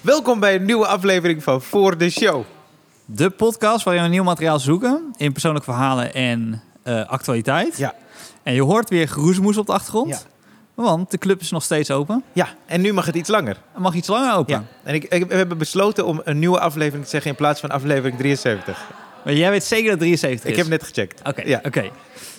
Welkom bij een nieuwe aflevering van Voor de Show. De podcast waarin we nieuw materiaal zoeken in persoonlijke verhalen en eh, actualiteit. Ja. En je hoort weer geroezemoes op de achtergrond, Ja. want de club is nog steeds open. Ja, en nu mag het iets langer. Het mag iets langer open. Ja. En ik, ik, we hebben besloten om een nieuwe aflevering te zeggen in plaats van aflevering 73. Maar jij weet zeker dat 73 is. Ik heb net gecheckt. Oké, Ja. oké.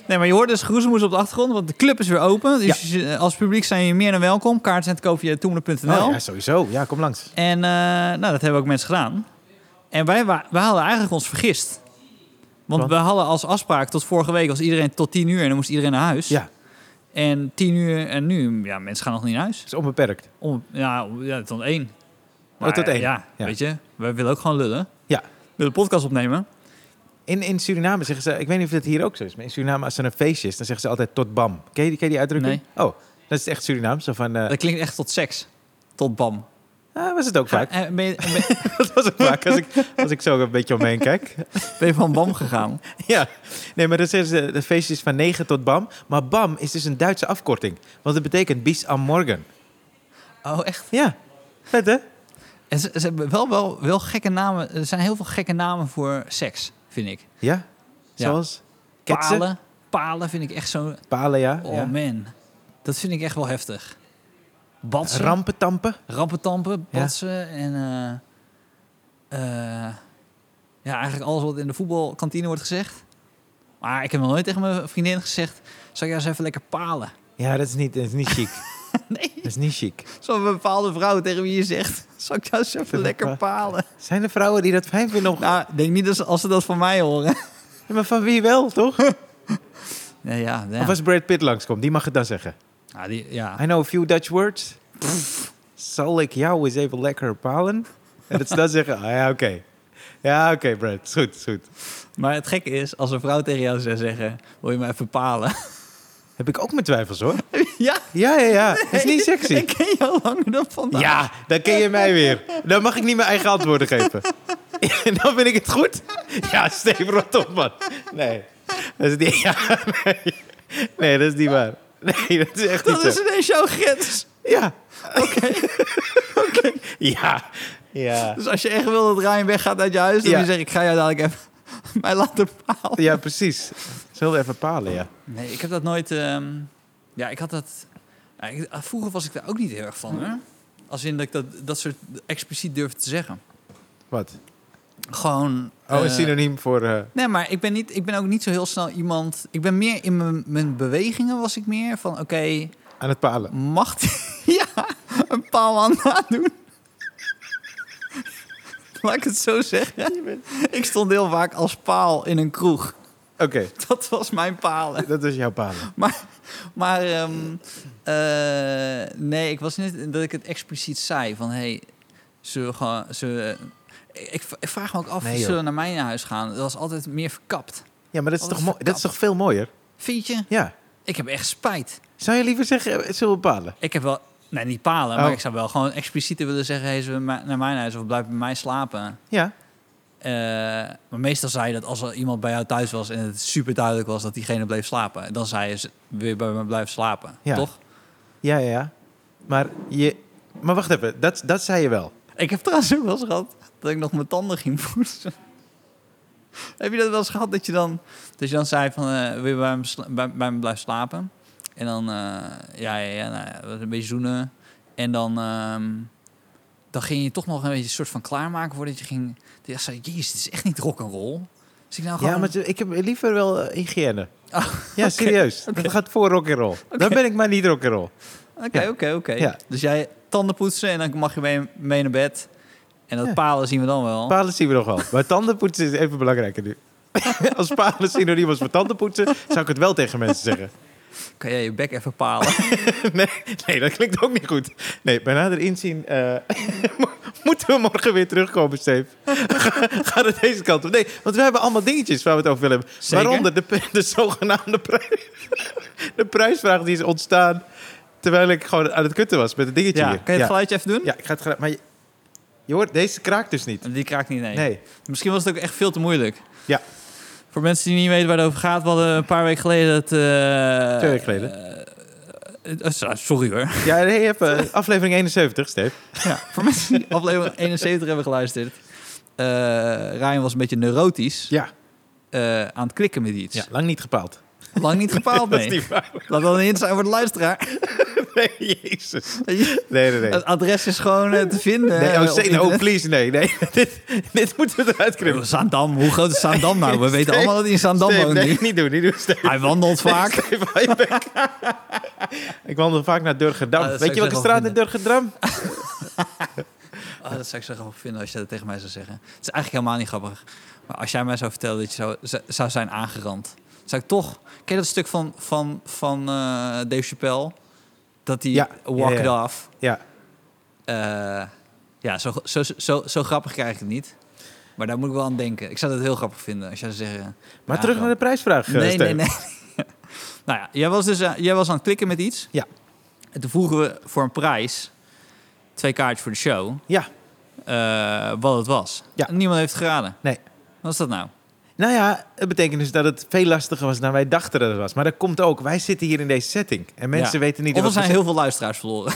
Nee, maar je hoort dus geroezemoes op de achtergrond, want de club is weer open. Dus je- als publiek zijn je meer dan welkom. Kaarten zijn te koop via toemelen.nl. Oh, ja, sowieso. Ja, kom langs. En eh, nou, dat hebben ook mensen gedaan. En wij, wa- we hadden eigenlijk ons vergist. Want Want? we hadden als afspraak tot vorige week was iedereen tot 10 uur en dan moest iedereen naar huis. Ja, En 10 uur en nu, ja, mensen gaan nog niet naar huis. is onbeperkt. Om, ja, om- ja, tot één. Oh, tot één. Ja, Ja. weet je, we willen ook gewoon lullen. Ja. We willen podcast opnemen. In, in Suriname zeggen ze, ik weet niet of dat hier ook zo is, maar in Suriname als er een feestje is, dan zeggen ze altijd tot bam. Ken je, die- ken je die uitdrukking? Oh, dat is echt Surinaam. Zo van, eh, Dat klinkt echt tot seks. Tot bam. ah, was het ook vaak. Eh, ben, je, ben- Dat was ook vaak, als ik, als ik zo een beetje omheen kijk. ben je van bam gegaan? Ja, nee, maar dan zeggen ze, de feestje is van 9 tot bam. Maar bam is dus een Duitse afkorting, want het betekent bis am morgen. Oh, echt? Ja, vet hè? En ze, ze hebben wel, wel, wel gekke namen. Er zijn heel veel gekke namen voor seks, vind ik. Ja, Ja. zoals ketsen. Palen, Palen. Palen vind ik echt zo... ja. Oh ja. man, dat vind ik echt wel heftig. Batsen, Rampentampen. rampentampen, Ja. batsen en... eh, eh, ja, eigenlijk alles wat in de voetbalkantine wordt gezegd. Maar ik heb nog nooit tegen mijn vriendin gezegd... Zou jij eens even lekker palen? Ja, dat is niet, dat is niet chic. Nee, Dat is niet chic. zo'n bepaalde vrouw tegen wie je zegt... Zou ik jou eens even lekker palen? Zijn er vrouwen die dat fijn vinden? Om... Nou, ik denk niet dat ze- als ze dat van mij horen. Ja, Maar van wie wel, toch? Nee, ja, ja. Of als Brad Pitt langskomt, die mag het dan zeggen. Ja, die, ja. I know a few Dutch words. Zal ik jou eens even lekker palen? En dat ze dan zeggen, ah ja, oké. Ja, oké, Brad. Is goed, is goed. Maar het gekke is, als een vrouw tegen jou zou zeggen... Wil je me even palen? Heb ik ook mijn twijfels, hoor. ja, Ja, ja, ja. Dat is niet sexy. ik ken jou langer dan vandaag. Ja, dan ken je mij weer. Dan mag ik niet mijn eigen antwoorden geven. En dan vind ik het goed. Ja, Steve, rot op, man. Nee. Dat is niet... Ja, nee. nee, dat is niet waar. Nee, dat is echt niet Dat zo. is ineens jouw grens. Ja. Oké. Ja. Ja. Dus als je echt wil dat Ryan weggaat uit je huis, dan Ja. moet je zeggen, ik ga jou dadelijk even mij laten palen. Ja, precies. Zullen we even palen, ja. Nee, ik heb dat nooit... ehm, ja, ik had dat... ja, ik- ah, vroeger was ik daar ook niet heel erg van, hè. Als in dat ik dat, dat soort expliciet durfde te zeggen. Wat? Gewoon... Oh, eh, een synoniem voor... eh, Nee, maar ik ben, niet, ik ben ook niet zo heel snel iemand... Ik ben meer in mijn- mijn bewegingen was ik meer van... Oké, aan het palen. mag die- ja, een paal aan nadoen. Laat ik het zo zeggen. Ik stond heel vaak als paal in een kroeg. Oké, Dat was mijn palen. dat is jouw palen. Maar, maar ehm, eh, nee, ik was niet dat ik het expliciet zei. Van, hé, hey, zullen we gewoon... Zullen we- eh, ik, ik vraag me ook af, Nee, joh. zullen we naar mijn huis gaan? Dat was altijd meer verkapt. Ja, maar dat is, Oh, toch, dat mooi- dat is toch veel mooier? Vind je? Ja. Ik heb echt spijt. Zou je liever zeggen, eh, zullen we palen? Ik heb wel, nee, niet palen, maar Oh. ik zou wel gewoon explicieter willen zeggen: hey, ze naar mijn huis of blijf bij mij slapen. Ja. Eh, maar meestal zei je dat als er iemand bij jou thuis was en het super duidelijk was dat diegene bleef slapen, dan zei je ze weer bij me blijven slapen. Ja. Toch? Ja, ja, ja. Maar je... Maar wacht even, dat, dat zei je wel. Ik heb trouwens ook wel eens gehad dat ik nog mijn tanden ging poetsen. heb je dat wel eens gehad dat je dan, dat je dan zei van eh, wil je bij me, sla- bij, bij me blijven slapen? En dan, eh, ja, ja, ja, nou ja, een beetje zoenen. En dan, ehm, dan ging je toch nog een beetje een soort van klaarmaken voordat je ging. Dat je echt zei, jezus, dit is echt niet rock'n'roll. Dus ik nou gewoon... Ja, maar ik heb liever wel eh, hygiëne. Oh, ja, serieus. Dat gaat voor rock and roll. Dan ben ik maar niet rock and roll. Oké, Ja. oké, oké. Ja. Dus jij tanden poetsen en dan mag je mee, mee naar bed. En dat Ja. palen zien we dan wel. Palen zien we nog wel. Maar tandenpoetsen is even belangrijker nu. Als palen synoniem was voor tandenpoetsen, zou ik het wel tegen mensen zeggen. Kan jij je bek even palen? Nee, nee dat klinkt ook niet goed. Nee, bij nader inzien eh, mo- moeten we morgen weer terugkomen, Steve. Ga- Ga het deze kant op. Nee, want we hebben allemaal dingetjes waar we het over willen hebben. Zeker. Waaronder de, p- de zogenaamde prijs. De prijsvraag die is ontstaan terwijl ik gewoon aan het kutten was met het dingetje ja, kan hier. je het geluidje even doen? Ja, ik ga het graag. Maar je, je hoort, deze kraakt dus niet. Die kraakt niet, nee. Nee. Misschien was het ook echt veel te moeilijk. Ja. Voor mensen die niet weten waar het over gaat, we hadden een paar weken geleden het... eh, Twee weken geleden. eh, eh, eh, sorry hoor. Ja, nee, je hebt, eh, aflevering 71, Steve. Ja, voor mensen die aflevering 71 hebben geluisterd. eh Ryan was een beetje neurotisch Ja. eh, aan het klikken met iets. ja. Lang niet gepaald. Lang niet gepaald, Dat is nee. niet waar. Laat dat een hint zijn voor de luisteraar. Nee, jezus. Weet je, Nee, nee, nee. Het adres is gewoon eh, te vinden. Nee, eh, oh, op Steve, internet. oh, please, nee, nee. dit, dit moeten we eruit krimpen. Zaandam, hoe groot is Zaandam nou? We weten Steve, allemaal dat hij in Zaandam Steve, woont nee, nu. niet doen, niet doen, Steve. Hij wandelt vaak. Steve, hou je bek. ik wandel vaak naar Durgedam. Ah, dat zou Weet ik je welke wel straat in vinden. Durgedam? Ah, dat zou ik zo grappig vinden als je dat tegen mij zou zeggen. Het is eigenlijk helemaal niet grappig. Maar als jij mij zou vertellen dat je zou, z- zou zijn aangerand, zou ik toch. Ken je dat stuk van, van, van eh, Dave Chappelle? Dat hij Ja, Walk ja, ja. It Off. Ja. Eh, ja, zo, zo, zo, zo grappig krijg ik het niet. Maar daar moet ik wel aan denken. Ik zou dat heel grappig vinden als jij zou zeggen. Maar terug naar de prijsvraag, eh, Nee, Steve. nee, nee. nou ja, jij was dus eh, jij was aan het klikken met iets. Ja. En toen vroegen we voor een prijs twee kaartjes voor de show Ja, eh, wat het was. Ja. En niemand heeft het geraden. Nee. Wat is dat nou? Nou ja, het betekent dus dat het veel lastiger was dan wij dachten dat het was. Maar dat komt ook, wij zitten hier in deze setting. En mensen Ja. weten niet Of er wat zijn we heel veel luisteraars verloren.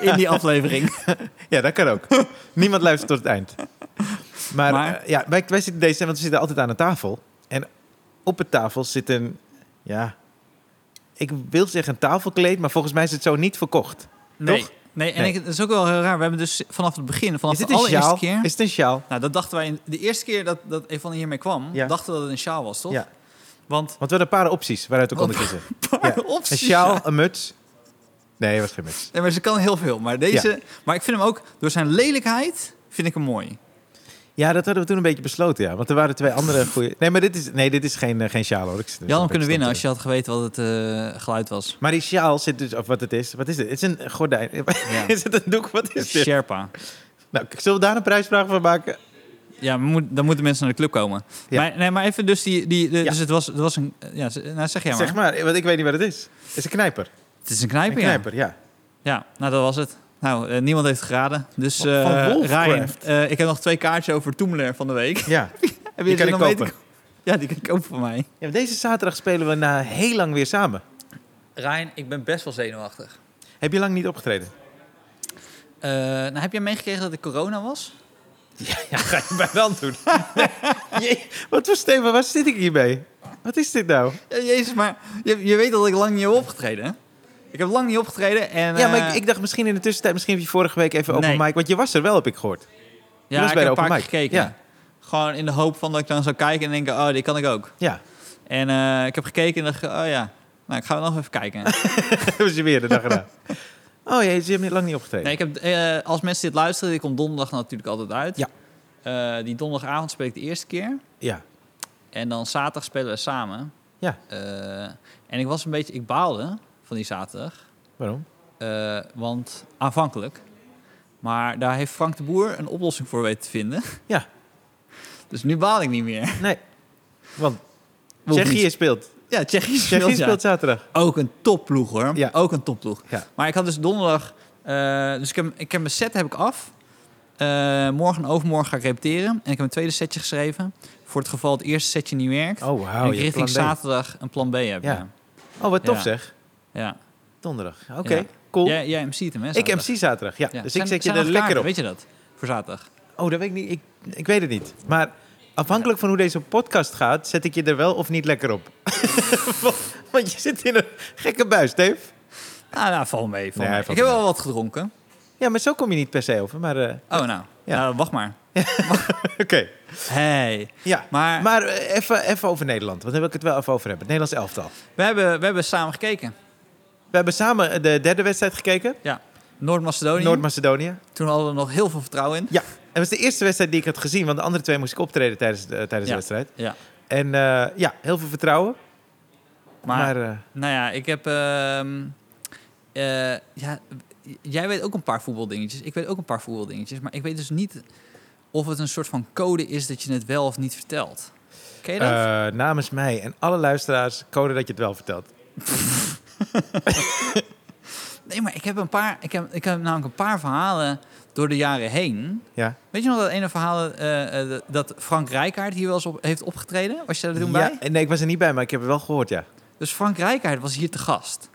In die aflevering. zeggen. Ja, dat kan ook. Niemand luistert tot het eind. Maar, Maar- eh, ja, wij, wij zitten deze, want we zitten altijd aan een tafel. En op het tafel zit een, ja, ik wil zeggen een tafelkleed, maar volgens mij is het zo niet verkocht. Nee. Toch? Nee, en Nee. Ik, dat is ook wel heel raar. We hebben dus vanaf het begin, vanaf is dit de een allereerste sjaal? keer... Is het een sjaal? Nou, dat dachten wij... in- de eerste keer dat, dat Evan hiermee kwam, Ja. dachten we dat het een sjaal was, toch? Ja. Want... Want we hadden een paar opties waaruit we konden kiezen. Ja. Een opties. sjaal, een muts. Nee, het was geen muts. Nee, maar ze kan heel veel. Maar deze... Maar ik vind hem ook... Door zijn lelijkheid vind ik hem mooi. Ja, dat hadden we toen een beetje besloten, ja. Want er waren twee andere goede... Nee, maar dit is, nee, dit is geen, eh, geen sjaal, hoor. Ik zit- Je had hem ik kunnen stond winnen er. als je had geweten wat het eh, geluid was. Maar die sjaal zit dus... Of wat het is. Wat is het? Het is een gordijn. is het een doek? Wat is dit? Sherpa. Nou, k- zullen we daar een prijsvraag van maken? Ja, maar moet, dan moeten mensen naar de club komen. Ja. Maar, nee, maar even dus die... die de- Ja. Dus het was, het was een... Ja, ze- nou, zeg jij maar. Zeg maar, want ik weet niet wat het is. Het is een knijper. Het is een Een knijper, knijper, ja. ja. Ja, nou dat was het. Nou, eh, niemand heeft geraden. Dus Wat van eh, Ryan, Wolfcraft. eh, ik heb nog twee kaartjes over Toemeler van de week. Ja. Heb Die kan er ik nog mee te kopen. ko- Ja, die kan ik kopen van mij. Ja, maar Deze zaterdag spelen we na heel lang weer samen. Ryan, ik ben best wel zenuwachtig. Heb je lang niet opgetreden? nou, heb jij meegekregen dat het corona was? Ja, ga je bij dan doen. Nee. Jee, Wat voor Steven, waar zit ik hiermee? Wat is dit nou? Ja, jezus, maar je, je weet dat ik lang niet heb opgetreden, hè? Ik heb lang niet opgetreden en... Ja, maar eh, ik, ik dacht misschien in de tussentijd, misschien heb je vorige week even open Nee. mic, want je was er wel, heb ik gehoord. ja, was ik bij de heb open een paar keer mic. gekeken. Ja. Gewoon in de hoop van dat ik dan zou kijken en denken, oh, die kan ik ook. Ja, En eh, ik heb gekeken en dacht, oh ja, nou, ik ga nog even kijken. dat was je weer de dag erna. Oh jee, je hebt lang niet opgetreden. Nee, ik heb, eh, als mensen dit luisteren, ik kom donderdag natuurlijk altijd uit. Ja. Eh, die donderdagavond speel ik de eerste keer. Ja. En dan zaterdag spelen we samen. Ja. Eh, en ik was een beetje, ik baalde van die zaterdag. Waarom? eh, want aanvankelijk. Maar daar heeft Frank de Boer een oplossing voor weten te vinden. Ja. Dus nu baal ik niet meer. Nee. Want Hoeft Tsjechië niet. speelt. Ja, Tsjechië speelt, Tsjechië ja. speelt zaterdag. Ook een topploeg hoor. Ja. Ook een topploeg. Ja. Maar ik had dus donderdag. eh, dus ik heb, ik heb mijn set heb ik af. Eh, morgen en overmorgen ga ik repeteren. En ik heb een tweede setje geschreven. Voor het geval het eerste setje niet werkt. Oh, en wauw. ik je richting plan B. zaterdag een plan B heb. Ja. Ja. Oh, wat tof Ja. zeg. ja. Donderdag. Oké, Ja. cool. Jij, jij MC't hem, hè? ik zaterdag? MC zaterdag, ja. Ja. Dus Zijn- ik zet je zijn er nog lekker kaarten, op. Weet je dat? Voor zaterdag. Oh, dat weet ik niet. Ik, ik weet het niet. Maar afhankelijk van hoe deze podcast gaat, zet ik je er wel of niet lekker op. Want- Want je zit in een gekke buis, Dave. Ah, nou, val mee. Val Nee, mee. hij Ik valt heb wel mee. wat gedronken. Ja, maar zo kom je niet per se over. Maar eh, Oh, nou. Ja. Nou, wacht maar. oké. Hey. Ja. Maar, Maar eh, even, even over Nederland, want daar wil ik het wel even over hebben. Het Nederlands elftal. We, hebben, we hebben samen gekeken. We hebben samen de derde wedstrijd gekeken. Ja. Noord-Macedonië. Noord-Macedonië. Toen hadden we er nog heel veel vertrouwen in. Ja, het was de eerste wedstrijd die ik had gezien, want de andere twee moest ik optreden tijdens, de- tijdens de Ja. wedstrijd. Ja. En eh, ja, heel veel vertrouwen. Maar, Maar, eh, nou ja, ik heb... ehm, eh, ja, j- jij weet ook een paar voetbaldingetjes. Ik weet ook een paar voetbaldingetjes. Maar ik weet dus niet of het een soort van code is dat je het wel of niet vertelt. Ken je dat? eh, namens mij en alle luisteraars, code dat je het wel vertelt. nee, maar ik heb, een paar, ik, heb, ik heb namelijk een paar verhalen door de jaren heen. Ja. Weet je nog dat ene verhaal eh, eh, dat Frank Rijkaard hier wel eens op, heeft opgetreden? Was je daar toen ja, bij? en Nee, ik was er niet bij, maar ik heb het wel gehoord, ja. Dus Frank Rijkaard was hier te gast.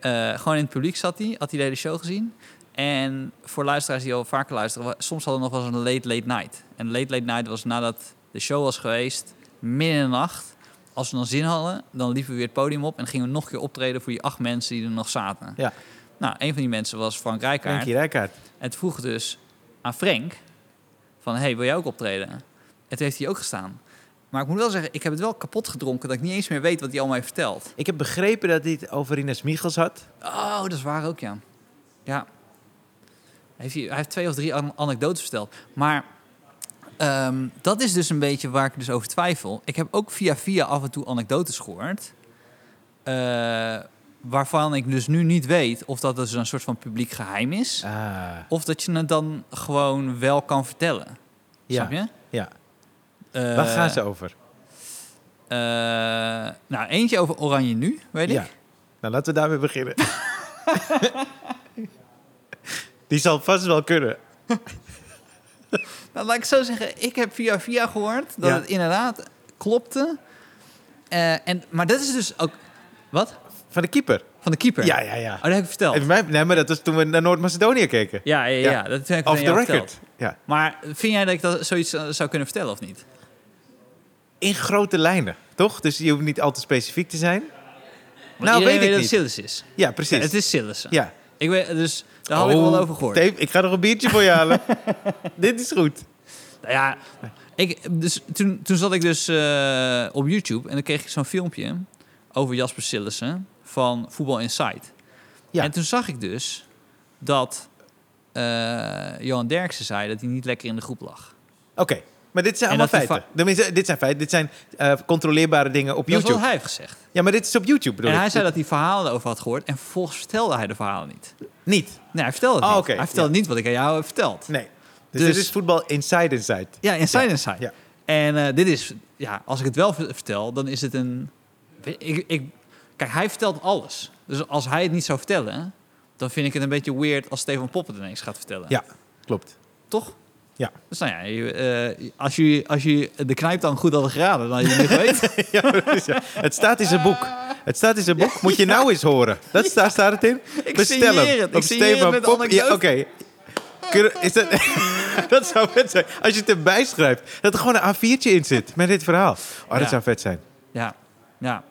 eh, gewoon in het publiek zat hij, had hij de hele show gezien. En voor luisteraars die al vaker luisteren, wa- soms hadden we nog wel eens een late, late night. En late, late night was nadat de show was geweest, midden in de nacht. Als we dan zin hadden, dan liepen we weer het podium op en gingen we nog een keer optreden voor die acht mensen die er nog zaten. Ja. Nou, een van die mensen was Frank Rijkaard. Frankie Rijkaard. En het vroeg dus aan Frank van, hey, wil jij ook optreden? En toen heeft hij ook gestaan. Maar ik moet wel zeggen, ik heb het wel kapot gedronken dat ik niet eens meer weet wat hij allemaal heeft verteld. Ik heb begrepen dat hij het over Ines Michels had. Oh, dat is waar ook, ja. Ja. Heeft hij, hij heeft twee of drie an- anekdotes verteld. Maar ehm, dat is dus een beetje waar ik dus over twijfel. Ik heb ook via via af en toe anekdotes gehoord. eh, waarvan ik dus nu niet weet of dat dus een soort van publiek geheim is. Ah, Of dat je het dan gewoon wel kan vertellen. ja. Snap je? ja. Eh, Waar gaan ze over? eh, nou, eentje over Oranje nu, weet ik. Ja. Nou, laten we daarmee beginnen. die zal vast wel kunnen. Nou, laat ik zo zeggen, ik heb via via gehoord dat Ja. het inderdaad klopte. Eh, en, maar dat is dus ook... Wat? Van de keeper. Van de keeper? Ja, ja, ja. Oh, dat heb ik verteld. En mij, nee, maar dat was toen we naar Noord-Macedonië keken. Ja, ja, ja, Ja. Dat heb ik Off aan the jou record. verteld. Ja. Maar vind jij dat ik dat zoiets eh, zou kunnen vertellen of niet? In grote lijnen, toch? Dus je hoeft niet al te specifiek te zijn. Want Nou, iedereen weet ik dat niet. het Silas is. Ja, precies. Het is Silas. Ja. Ik weet, dus daar had ik Oh, wel over gehoord. Dave, ik ga nog een biertje voor je halen. Dit is goed. Nou ja, ik, dus toen, toen zat ik dus eh, op YouTube en dan kreeg ik zo'n filmpje over Jasper Sillissen van Voetbal Insight. Ja. En toen zag ik dus dat eh, Johan Derksen zei dat hij niet lekker in de groep lag. Oké, maar dit zijn En allemaal dat die feiten. Tenminste, dit zijn feiten. Dit zijn eh, controleerbare dingen op Dat is YouTube. wat hij heeft gezegd. Ja, maar dit is op YouTube, bedoel En ik. hij zei dat hij verhalen over had gehoord en vervolgens vertelde hij de verhalen niet. Niet. Nee, hij vertelde het Oh, niet. oké, Hij vertelde niet wat ik aan jou heb verteld. Nee. Dus, Dus- dit is voetbal inside inside. Ja, Inside Inside. ja. En eh, dit is, ja, als ik het wel ver- vertel, dan is het een. Ik, ik, kijk, hij vertelt alles. Dus als hij het niet zou vertellen, dan vind ik het een beetje weird als Stefan Poppen het ineens gaat vertellen. Ja, klopt. Toch? Ja. Dus nou ja, je, eh, als, je, als je de knijp dan goed hadden geraden, dan had je het niet geweten. ja, precies, ja. Het staat in zijn boek. Het staat in zijn boek. Moet je nou eens horen. Dat staat, staat het in. Ik Bestel signeer hem. het. Ik Op signeer het Stefan met Pop. anekdote. Ja, oké. Kunnen- Is dat... dat zou vet zijn. Als je het erbij schrijft. Dat er gewoon een A4'tje in zit. Met dit verhaal. Oh, dat Ja. zou vet zijn. ja. ja.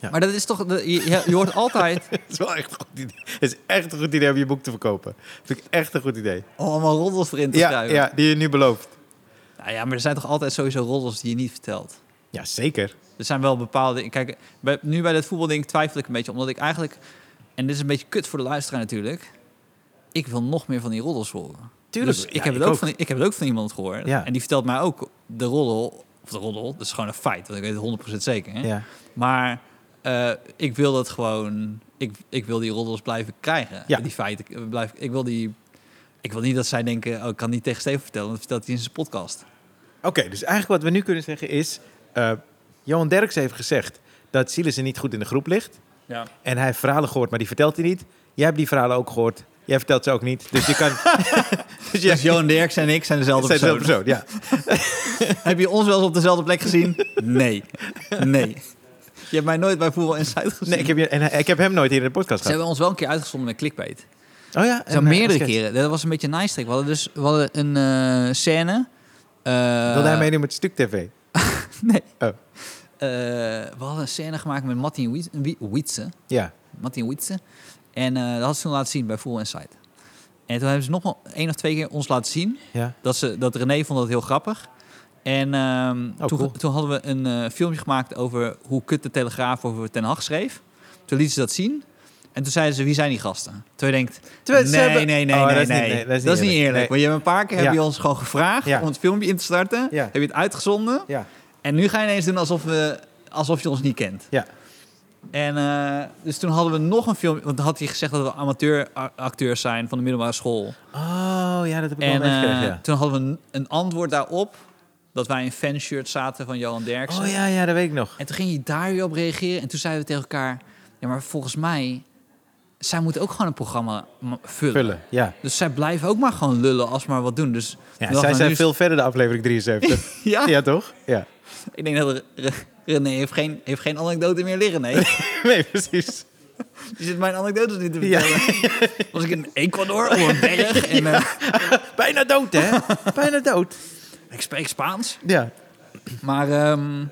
Ja. Maar dat is toch, de- je, je hoort altijd Dat is wel echt een goed idee. Dat is echt een goed idee om je boek te verkopen. Dat vind ik echt een goed idee. om allemaal roddels erin te Ja, schrijven. ja, die je nu belooft. Nou ja, maar er zijn toch altijd sowieso roddels die je niet vertelt. Ja, zeker. Er zijn wel bepaalde... Kijk, bij, nu bij dat voetbalding twijfel ik een beetje. Omdat ik eigenlijk... En dit is een beetje kut voor de luisteraar natuurlijk. Ik wil nog meer van die roddels horen. Tuurlijk. Dus ik, Ja, heb het ik ook ook. Van, ik heb het ook van iemand gehoord. Ja. En die vertelt mij ook de roddel... Of de roddel, dat is gewoon een feit. Want ik weet het 100% zeker. Hè? Ja. Maar eh, ik wil dat gewoon... Ik, ik wil die roddels blijven krijgen. Ja. Die feiten eh, blijven... Ik wil die... Ik wil niet dat zij denken... Oh, ik kan niet tegen Steven vertellen. Want dat vertelt hij in zijn podcast. Oké, dus eigenlijk wat we nu kunnen zeggen is... eh, Johan Derks heeft gezegd dat Silas er niet goed in de groep ligt. Ja. En hij heeft verhalen gehoord, maar die vertelt hij niet. Jij hebt die verhalen ook gehoord. Jij vertelt ze ook niet. Dus je kan... dus jij... Dus Johan Derks en ik zijn dezelfde zijn dezelfde persoon. persoon, ja. Heb je ons wel eens op dezelfde plek gezien? Nee. Nee. Je hebt mij nooit bij Voetbal Insight gezien. Nee, ik, heb je, en hij- ik heb hem nooit hier in de podcast Ze gehad. hebben ons wel een keer uitgezonden met clickbait. Oh ja? Zo en, eh, meerdere sketch. keren. Dat was een beetje een nice trick. We hadden dus we hadden een eh, scène. eh, Wilde hij meedoen met Stuk TV? Nee. Oh. Eh, we hadden een scène gemaakt met Martin Wiet- Wie- Wietse. Ja. Martin Wietse. En eh, dat had ze toen laten zien bij Voetbal Insight. En toen hebben ze nog wel één of twee keer ons laten zien. Ja. Dat, ze, dat René vond dat heel grappig. En ehm, Oh, toen, cool. toen hadden we een eh, filmpje gemaakt over hoe kut de Telegraaf over Ten Hag schreef. Toen lieten ze dat zien. En toen zeiden ze, wie zijn die gasten? Toen je denkt, nee, Terwijl ze hebben- nee, nee, Oh, nee, dat is nee. niet- nee, Dat is niet eerlijk. Nee. Want je hebt een paar keer Ja. heb je ons gewoon gevraagd Ja. om het filmpje in te starten. Ja. Heb je het uitgezonden. Ja. En nu ga je ineens doen alsof, we, alsof je ons niet kent. Ja. En eh, dus toen hadden we nog een filmpje. Want dan had hij gezegd dat we amateuracteurs zijn van de middelbare school. Oh, ja, dat heb ik wel En meegekregen, eh, ja. toen hadden we een, een antwoord daarop. Dat wij in fanshirt zaten van Johan Derksen. Oh ja, ja, dat weet ik nog. En toen ging je daar weer op reageren. En toen zeiden we tegen elkaar... Ja, maar volgens mij... Zij moeten ook gewoon een programma m- vullen. Vullen, ja. Dus zij blijven ook maar gewoon lullen als ze maar wat doen. Dus toen Ja, dachten we, zij nou, zijn nu is- veel verder de aflevering 73. Ja, ja, toch? Ja. ik denk dat Re- Re- René heeft geen, heeft geen anekdote meer liggen. Nee. Nee, precies. Je zit mijn anekdotes niet te Ja. vertellen. Was ik in Ecuador op een berg en eh, Bijna dood, hè? Bijna dood. ik spreek Spaans. Ja. Maar, ehm,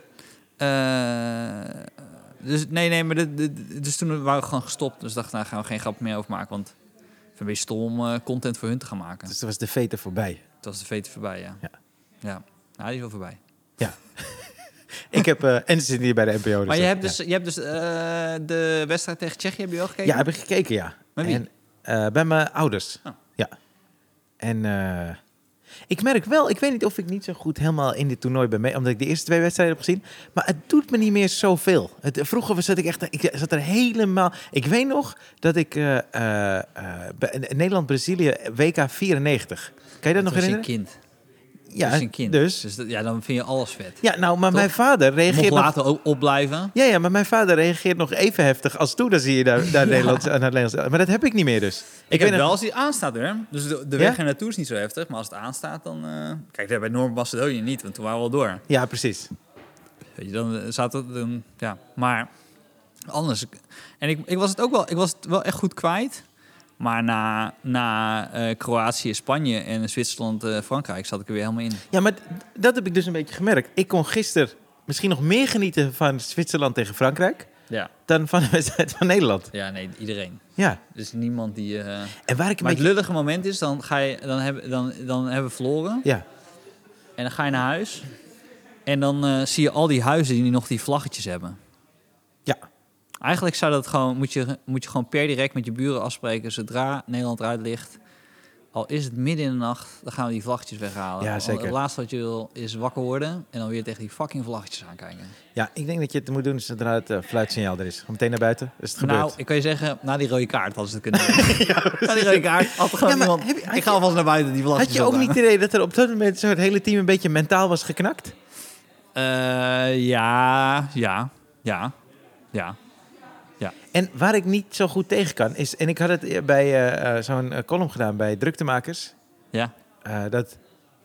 eh, dus nee, nee, maar dit, dit- dus toen waren we gewoon gestopt. Dus dacht, nou gaan we geen grap meer over maken, want ik vind het een beetje stom om eh, content voor hun te gaan maken. Dus toen was de vete voorbij. Het was de vete voorbij, ja. Ja. Oh, Ja, nou, die is wel voorbij. Ja. ik heb... eh, en ze zitten hier bij de NPO. dus maar je dat- hebt ja. dus, je hebt dus eh, de wedstrijd tegen Tsjechië, heb je wel gekeken? Ja, heb ik gekeken, ja. Met wie? En, eh, bij mijn ouders. Oh. Ja. En eh, ik merk wel, ik weet niet of ik niet zo goed helemaal in dit toernooi ben mee, omdat ik de eerste twee wedstrijden heb gezien. Maar het doet me niet meer zoveel. Het, vroeger was dat ik echt, ik zat er helemaal. Ik weet nog dat ik eh, eh, eh, bij- in Nederland-Brazilië WK 94. Kan je dat Toen nog was je herinneren? een kind. Ja, dus een kind. Dus. dat- ja, dan vind je alles vet. Ja, nou, maar Toch? mijn vader Je mocht reageert nog later ook opblijven. Ja, ja, maar mijn vader reageert nog even heftig als toen. Dan zie je daar, daar Nederlands, naar Nederlands. Maar dat heb ik niet meer dus. Ik, heb nog- wel als die aanstaat, hoor. Dus de, de Ja? weg er naartoe is niet zo heftig. Maar als het aanstaat, dan... eh, Kijk, daar bij Noord-Macedonië niet, want toen waren we al door. Ja, precies. Weet je, dan eh, zat het... Dan, ja, maar anders... En ik, ik was het ook wel... Ik was het wel echt goed kwijt. Maar na, na eh, Kroatië, Spanje en Zwitserland, eh, Frankrijk... zat ik er weer helemaal in. Ja, maar d- dat heb ik dus een beetje gemerkt. Ik kon gisteren misschien nog meer genieten van Zwitserland tegen Frankrijk Ja. dan van de wedstrijd van Nederland. Ja, nee, iedereen. Ja, Dus niemand die... eh, en waar ik een Maar het beetje... lullige moment is, dan, ga je, dan, hebben, dan, dan hebben we verloren. Ja, En dan ga je naar huis. En dan eh, zie je al die huizen die nog die vlaggetjes hebben. ja. Eigenlijk zou dat gewoon, moet, je, moet je gewoon per direct met je buren afspreken. Zodra Nederland eruit ligt, al is het midden in de nacht, dan gaan we die vlaggetjes weghalen. Ja, Al- zeker. Het laatste wat je wil is wakker worden en dan weer tegen die fucking vlaggetjes aankijken. ja, ik denk dat je het moet doen zodra het eh, fluitsignaal er is. Gewoon meteen naar buiten, is het gebeurd. Nou, ik kan je zeggen, na die rode kaart hadden ze het kunnen doen. na die rode kaart had er gewoon Ja, maar iemand- heb je- had ik je- ga alvast naar buiten die Had vlaggetjes je ook niet ophangen. het idee dat er op dat moment zo het hele team een beetje mentaal was geknakt? Eh, ja, ja, ja, ja. En waar ik niet zo goed tegen kan is, en ik had het eh, bij eh, eh, zo'n eh, column gedaan bij Druktemakers, Ja, eh, dat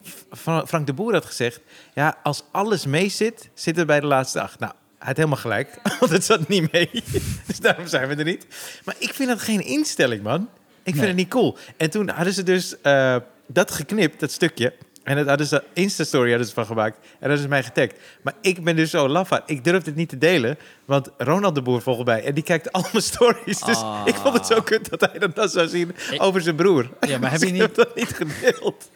F- Fra- Frank de Boer had gezegd: ja, als alles mee zit, zitten we bij de laatste acht. Nou, hij had helemaal gelijk, want het zat niet mee. dus daarom zijn we er niet. Maar ik vind dat geen instelling, man. Ik vind Nee. het niet cool. En toen hadden ze dus eh, dat geknipt, dat stukje. En dat hadden ze Insta-story hadden ze van gemaakt. En dat is mij getagd. Maar ik ben dus zo lafaard. Ik durfde het niet te delen. Want Ronald de Boer volgt mij. En die kijkt al mijn stories. Dus Ah. ik vond het zo kut dat hij dat dan zou zien Ik- over zijn broer. Ja, maar heb je Dus ik niet- heb dat niet gedeeld?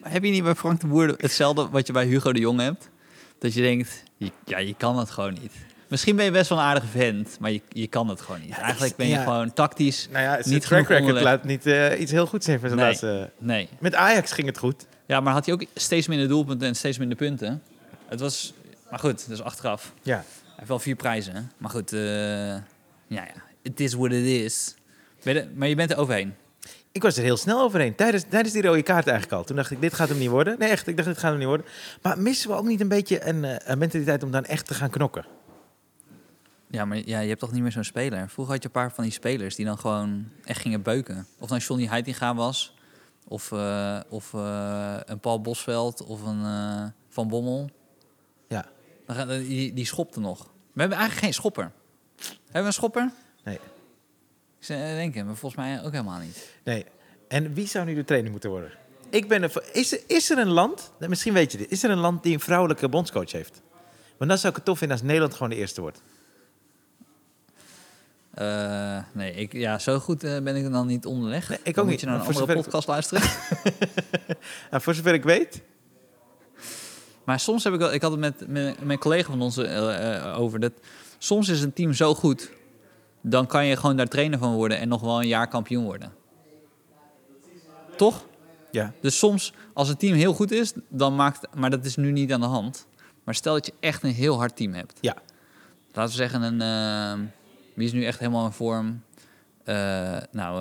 Maar Heb je niet bij Frank de Boer hetzelfde wat je bij Hugo de Jong hebt? Dat je denkt, je- ja, je kan het gewoon niet. Misschien ben je best wel een aardige vent, maar je, je kan het gewoon niet. Eigenlijk ben je ja. gewoon tactisch Nou ja, zijn niet track genoeg record onderlegd. laat niet eh, iets heel goed zijn van zijn Nee. laatste... Nee. Met Ajax ging het goed. Ja, maar had hij ook steeds minder doelpunten en steeds minder punten? Het was... Maar goed, dus achteraf. Ja. Hij heeft wel vier prijzen, hè? Maar goed, eh ja, ja. It is what it is. Ben je er- maar je bent er overheen. Ik was er heel snel overheen. Tijdens, tijdens die rode kaart eigenlijk al. Toen dacht ik, dit gaat hem niet worden. Nee, echt, ik dacht, dit gaat hem niet worden. Maar missen we ook niet een beetje een, eh, een mentaliteit om dan echt te gaan knokken? Ja, maar ja, je hebt toch niet meer zo'n speler? Vroeger had je een paar van die spelers die dan gewoon echt gingen beuken. Of dan Johnny Heitinga was, of, eh, of eh, een Paul Bosveld, of een eh, Van Bommel. Ja. Dan gaan, die, die schopte nog. We hebben eigenlijk geen schopper. Hebben we een schopper? Nee. Ik zou eh, denken, maar volgens mij ook helemaal niet. Nee. En wie zou nu de trainer moeten worden? Ik ben er voor- is, er, is er een land, nou, misschien weet je dit, is er een land die een vrouwelijke bondscoach heeft? Want dan zou ik het tof vinden als Nederland gewoon de eerste wordt. Eh, nee, ik, ja, zo goed eh, ben ik er dan niet onderleg. Nee, ik ook dan niet, moet je naar een maar voor andere zover ik- podcast luisteren. Nou, voor zover ik weet, Maar soms heb ik wel, ik had het met, met mijn collega van ons eh, eh, over dat soms is een team zo goed, dan kan je gewoon daar trainer van worden en nog wel een jaar kampioen worden. Toch? ja. Dus soms als een team heel goed is, dan maakt, maar dat is nu niet aan de hand. Maar stel dat je echt een heel hard team hebt. Ja. Laten we zeggen een, eh, wie is nu echt helemaal in vorm? Eh, nou,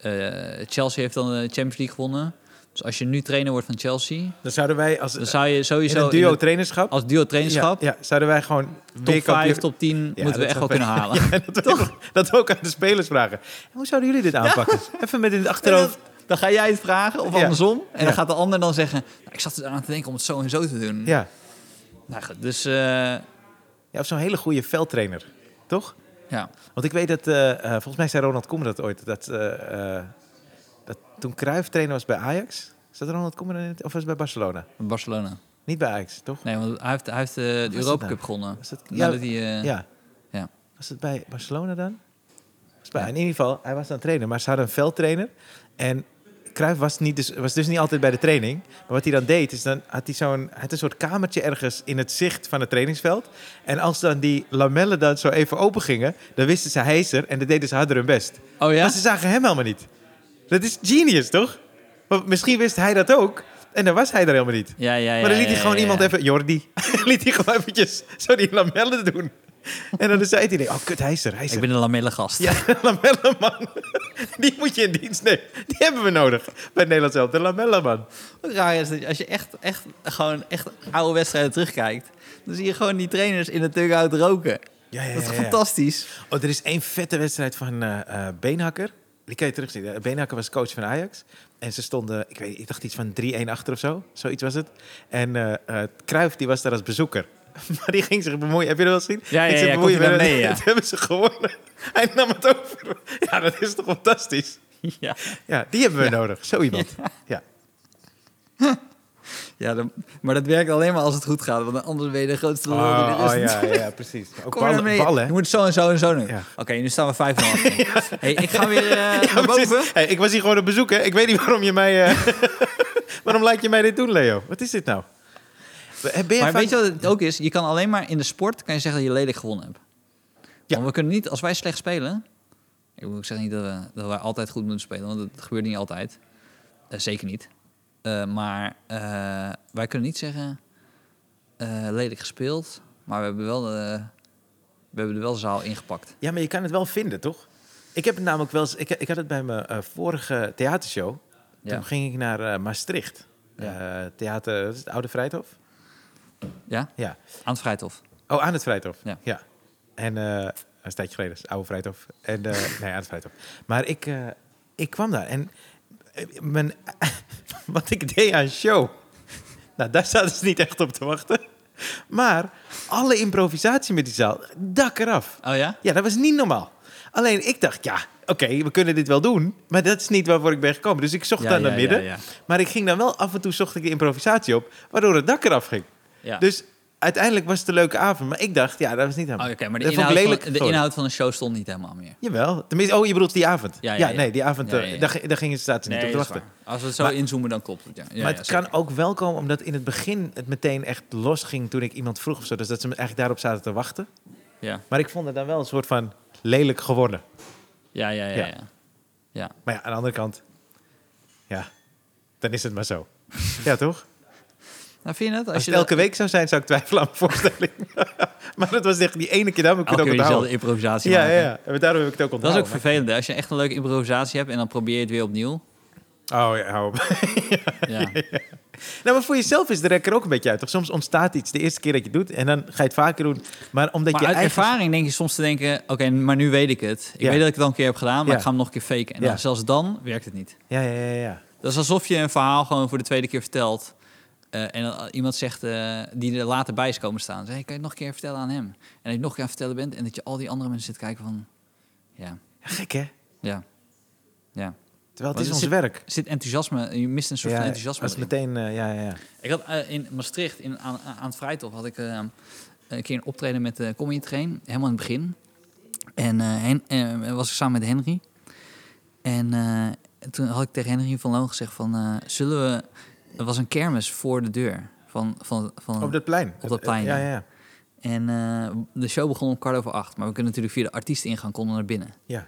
eh, eh, Chelsea heeft dan de Champions League gewonnen. Dus als je nu trainer wordt van Chelsea, Dan zouden wij als dan zou je in sowieso een in duo de- trainerschap, als duo trainerschap. Ja, ja, zouden wij gewoon Top weer 5, kampioen- top 10 moeten we dat echt wel zou- kunnen halen. Ja, dat, Toch? dat we ook aan de spelers vragen. En hoe zouden jullie dit aanpakken? Even met in het achterhoofd. Dan ga jij het vragen of Ja. andersom. En Ja. dan gaat de ander dan zeggen... "Nou, ik zat er aan te denken om het zo en zo te doen. Ja. Nou goed, dus... eh, ja, of zo'n hele goede veldtrainer. Toch? Ja. Want ik weet dat, eh, eh, volgens mij zei Ronald Koeman dat ooit, dat, eh, eh, dat toen Cruijff trainer was bij Ajax, zat Ronald Koeman in het, of was het bij Barcelona? Barcelona. Niet bij Ajax, toch? Nee, want hij heeft, hij heeft eh, de nou? Europa Cup gewonnen. Was dat, ja, Nadat hij, eh, ja. ja. Was het bij Barcelona dan? Was bij, Ja. In ieder geval, hij was aan het trainen, maar ze hadden een veldtrainer. En Cruijff was, niet dus, was dus niet altijd bij de training. Maar wat hij dan deed, is dan had hij zo'n hij had een soort kamertje ergens in het zicht van het trainingsveld. En als dan die lamellen dan zo even open gingen, dan wisten ze hij is er en dan deden ze harder hun best. Oh ja? Maar ze zagen hem helemaal niet. Dat is genius, toch? Want misschien wist hij dat ook en dan was hij er helemaal niet. Ja, ja, ja. Maar dan liet ja, hij gewoon ja, iemand ja. even, Jordi, liet hij gewoon eventjes zo die lamellen doen. En dan zei hij, nee, oh kut, hij is er, hij is Ik er. ben een lamelle gast. Ja, de lamellenman. Die moet je in dienst nemen. Die hebben we nodig bij het Nederlands zelf, de lamellenman. Hoe raar is dat als je echt, echt, gewoon echt oude wedstrijden terugkijkt, dan zie je gewoon die trainers in de dugout roken. Ja, ja, Dat is ja, ja. fantastisch. Oh, er is één vette wedstrijd van eh, eh, Beenhakker. Die kan je terugzien. Eh, Beenhakker was coach van Ajax. En ze stonden, ik, weet, ik dacht iets van 3-1 achter of zo. Zoiets was het. En eh eh, Cruijff, die was daar als bezoeker. Maar die ging zich bemoeien. Heb je dat wel gezien? Ja, ja, Ging zich ja, bemoeien komt hij met- dan mee, ja. Dat hebben ze gewonnen. Hij nam het over. Ja, dat is toch fantastisch? Ja, Ja, die hebben we nodig. Zo iemand. Ja. ja dan- maar dat werkt alleen maar als het goed gaat, want anders ben je de grootste lul die er Oh, is. oh, ja, ja, precies. Maar Ook Kom maar ballen, mee. ballen, hè? Je moet zo en zo en zo doen. Ja. Oké, nu staan we vijf van achter. hey, ik ga weer eh, Ja, naar precies. boven. Hey, ik was hier gewoon op bezoek, hè. Ik weet niet waarom je mij... eh, waarom laat je mij dit doen, Leo? Wat is dit nou? Eh, Ben je Maar van- weet je wat het ook is? Je kan alleen maar in de sport kan je zeggen dat je lelijk gewonnen hebt. Ja. Want we kunnen niet, als wij slecht spelen... Ik bedoel, ik zeg niet dat, we, dat wij altijd goed moeten spelen, want dat gebeurt niet altijd. Eh, zeker niet. Eh, maar eh, wij kunnen niet zeggen, eh, lelijk gespeeld, maar we hebben, wel de, we hebben er wel zaal ingepakt. Ja, maar je kan het wel vinden, toch? Ik heb het namelijk wel eens... Ik, ik had het bij mijn eh, vorige theatershow. Ja. Toen ging ik naar eh, Maastricht. Ja. Eh, theater... Wat is het Oude Vrijthof? Ja? Ja. Aan het Vrijthof. Oh, aan het Vrijthof. Ja. En eh een tijdje geleden, het oude Vrijthof. En, eh, nee, aan het Vrijthof. Maar ik, eh, ik kwam daar en eh, mijn, wat ik deed aan show. Nou, daar zaten ze niet echt op te wachten. Maar alle improvisatie met die zaal, dak eraf. Oh ja? Ja, dat was niet normaal. Alleen ik dacht, ja, oké, we kunnen dit wel doen. Maar dat is niet waarvoor ik ben gekomen. Dus ik zocht Ja, dan ja, naar midden. ja, ja. Maar ik ging dan wel af en toe zocht ik de improvisatie op, waardoor het dak eraf ging. Ja. Dus uiteindelijk was het een leuke avond. Maar ik dacht, ja, dat was niet Oh, helemaal... Oké, maar de dat vond ik inhoud, lelijk van, de geworden. inhoud van de show stond niet helemaal meer. Jawel. Tenminste, oh, je bedoelt die avond. Ja, Ja, ja, ja. nee, die avond, Ja, eh, ja, ja. Daar, ging- daar gingen ze zaten niet op te dat is wachten. waar. Als we het zo Maar- inzoomen, dan klopt het. Ja. Ja, maar ja, het zeker. kan ook wel komen omdat in het begin het meteen echt los ging toen ik iemand vroeg of zo. Dus dat ze me eigenlijk daarop zaten te wachten. Ja. Maar ik vond het dan wel een soort van lelijk geworden. Ja, ja, ja. Ja. ja. ja. Maar ja, aan de andere kant, ja, dan is het maar zo. Ja, toch? Nou, vind je dat? Als, Als je het elke week zou zijn, zou ik twijfelen aan mijn voorstelling. maar dat was echt die ene keer, daarom heb elke ik het keer ook onthouden. dezelfde improvisatie Ja, Nou, maken. ja, ja. En daarom heb ik het ook Dat is onthouden. ook vervelend. hè. Als je echt een leuke improvisatie hebt en dan probeer je het weer opnieuw. Oh, ja, hou op. Ja, Nou, maar voor jezelf is de rek er ook een beetje uit. Toch? Soms ontstaat iets de eerste keer dat je het doet en dan ga je het vaker doen. Maar omdat Maar je uit eigen... ervaring denk je soms te denken... Oké, maar nu weet ik het. Ik Ja. weet dat ik het al een keer heb gedaan, maar Ja. ik ga hem nog een keer faken. En dan- Ja. zelfs dan werkt het niet. Ja, ja, ja, ja. Dat is alsof je een verhaal gewoon voor de tweede keer vertelt... eh, en dan iemand zegt, eh, die er later bij is komen staan... Zeg, hey, kan je het nog een keer vertellen aan hem? En dat je het nog een keer aan het vertellen bent... en dat je al die andere mensen zit kijken van... Ja, Ja, Gek, hè? ja, ja. Terwijl Maar het is er ons zit- werk. Er zit enthousiasme, je mist een soort ja, van enthousiasme. als erin. meteen, eh, ja, ja, ja. Ik had eh, in Maastricht, in, aan, aan het Vrijthof, had ik eh, een keer een optreden met de Comedy Train. Helemaal in het begin. En eh, Hen- eh, was ik samen met Henry. En eh, toen had ik tegen Henry van Loon gezegd van... eh, zullen we... Er was een kermis voor de deur van, van, van, Op dat plein. Oh. Eh, Op dat plein, Ja, ja. ja, ja. En eh, de show begon om kwart over acht. Maar we kunnen natuurlijk via de artiestingang konden we naar binnen. ja.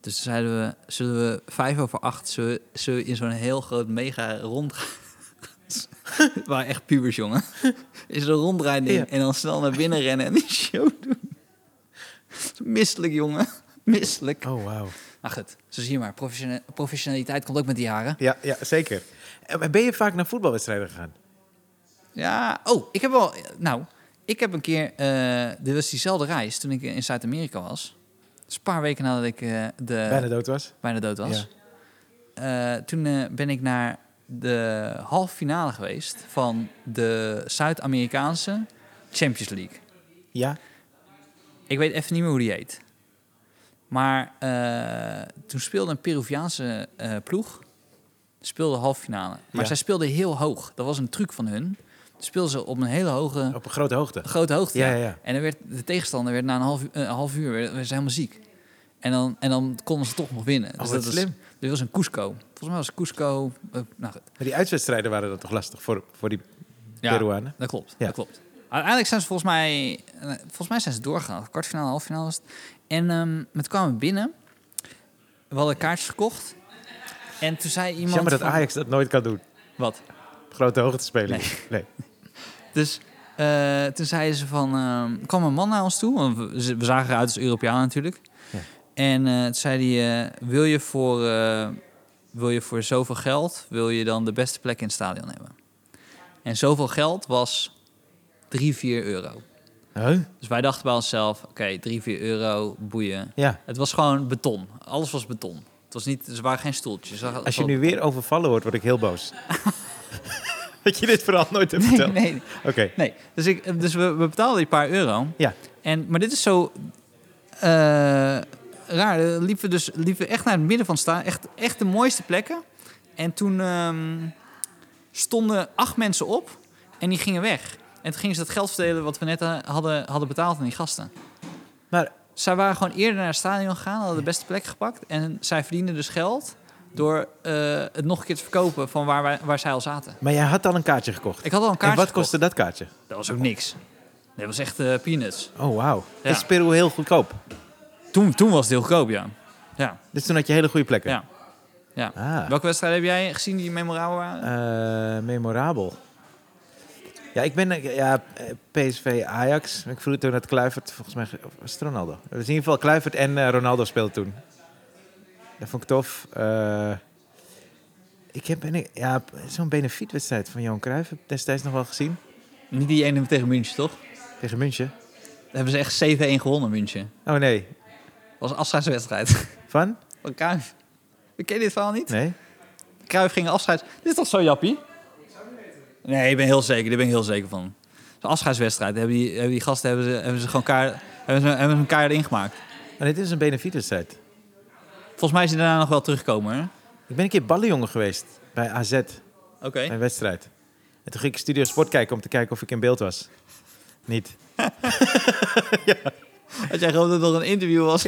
Dus toen zeiden we, zullen we vijf over acht, zullen we, zullen we in zo'n heel groot mega rond... Het waren echt pubers, jongen. Is er een rondrijding Ja. en dan snel naar binnen rennen en die show doen. Misselijk, jongen. Misselijk. Oh, wauw. Maar goed, zo zie je maar. Professione- professionaliteit komt ook met de jaren. Ja, ja, zeker. En Ben je vaak naar voetbalwedstrijden gegaan? Ja, oh, ik heb wel... Nou, ik heb een keer... eh dit was diezelfde reis toen ik in Zuid-Amerika was. Dus een paar weken nadat ik eh, de... Bijna dood was? bijna dood was. Eh, toen eh, ben ik naar de halve finale geweest van de Zuid-Amerikaanse Champions League. Ja? Ik weet even niet meer hoe die heet. Maar eh, toen speelde een Peruviaanse eh, ploeg, speelde halve finale. Maar Ja. zij speelden heel hoog. Dat was een truc van hun. Toen speelden ze op een hele hoge, Op een grote hoogte. grote hoogte. Ja, ja, ja. En dan werd, de tegenstander werd na een half, u- eh, half uur werd, werd ze helemaal ziek. En dan, en dan konden ze toch nog winnen. Oh, Dus wat was slim. Dit was een Cusco. Volgens mij was Cusco... eh, nou goed. Maar die uitwedstrijden waren dan toch lastig voor, voor die Ja. Peruanen? Dat klopt, Ja. dat klopt. Uiteindelijk zijn ze volgens mij, eh, volgens mij zijn ze doorgegaan. Kwartfinale, halffinale was het. En ehm het kwamen binnen. We hadden kaartjes gekocht. En toen zei iemand... Jammer dat van- Ajax dat nooit kan doen. Wat? Op grote hoogte spelen. Nee. Dus eh, toen zeiden ze van... ehm kwam een man naar ons toe. Want we, ze- we zagen eruit als Europeaan natuurlijk. Ja. En eh, toen zei hij... eh, wil, je voor, eh, wil je voor zoveel geld... wil je dan de beste plek in het stadion hebben? En zoveel geld was 3, 4 euro. Huh? Dus wij dachten bij onszelf, oké, 3, 4 euro, boeien. Ja. Het was gewoon beton. Alles was beton. Het was niet, er waren geen stoeltjes. Er- Als je nu weer overvallen wordt, word ik heel boos. dat je dit verhaal nooit hebt verteld. Nee, nee. Oké. nee. Dus, ik, dus we, we betaalden die paar euro. Ja. En, maar dit is zo eh, raar. Eh, Liepen we, dus, liepen we echt naar het midden van het staan. Echt, echt de mooiste plekken. En toen ehm, stonden acht mensen op en die gingen weg. En toen gingen ze dat geld verdelen wat we net eh, hadden, hadden betaald aan die gasten. Maar Zij waren gewoon eerder naar het stadion gegaan, hadden de beste plek gepakt. En zij verdienden dus geld door eh, het nog een keer te verkopen van waar, wij- waar zij al zaten. Maar jij had al een kaartje gekocht. Ik had al een en kaartje wat kostte dat kaartje? gekocht. Dat was ook niks. Dat was echt eh, peanuts. Oh, wauw. Ja. Is Peru heel goedkoop? Toen, toen was het heel goedkoop, ja. Ja, Dus toen had je hele goede plekken? ja. ja. Ah. Welke wedstrijd heb jij gezien die memorabel waren? Eh, memorabel. Ja, ik ben... eh, Ja, eh, PSV Ajax. Ik vroeg toen dat Kluivert... Volgens mij of was het Ronaldo. Het was in ieder geval Kluivert en eh, Ronaldo speelden toen. Dat vond ik tof. Eh, ik heb ben ik- ja, zo'n benefietwedstrijd van Johan Cruijff heb ik destijds nog wel gezien. Niet die ene tegen München, toch? Tegen München. Daar hebben ze echt 7-1 gewonnen, München. Oh nee. Dat was een afscheidswedstrijd. Van? Van Cruijff. We kennen dit verhaal niet? Nee. Cruijff ging afscheids... Dit is toch zo, Jappie? Nee, ik ben heel zeker. Daar ben ik heel zeker van. Zo'n afscheidswedstrijd. Hebben die, hebben die gasten hebben ze, hebben ze gewoon kaart, hebben ze, hebben ze een kaart ingemaakt. Maar Oh, dit is een benefietwedstrijd. Volgens mij is hij daarna nog wel teruggekomen, hè? Ik ben een keer ballenjongen geweest bij AZ, Oké. bij een wedstrijd. En toen ging ik Studio Sport kijken om te kijken of ik in beeld was. Niet. Had jij gehoopt dat er een interview was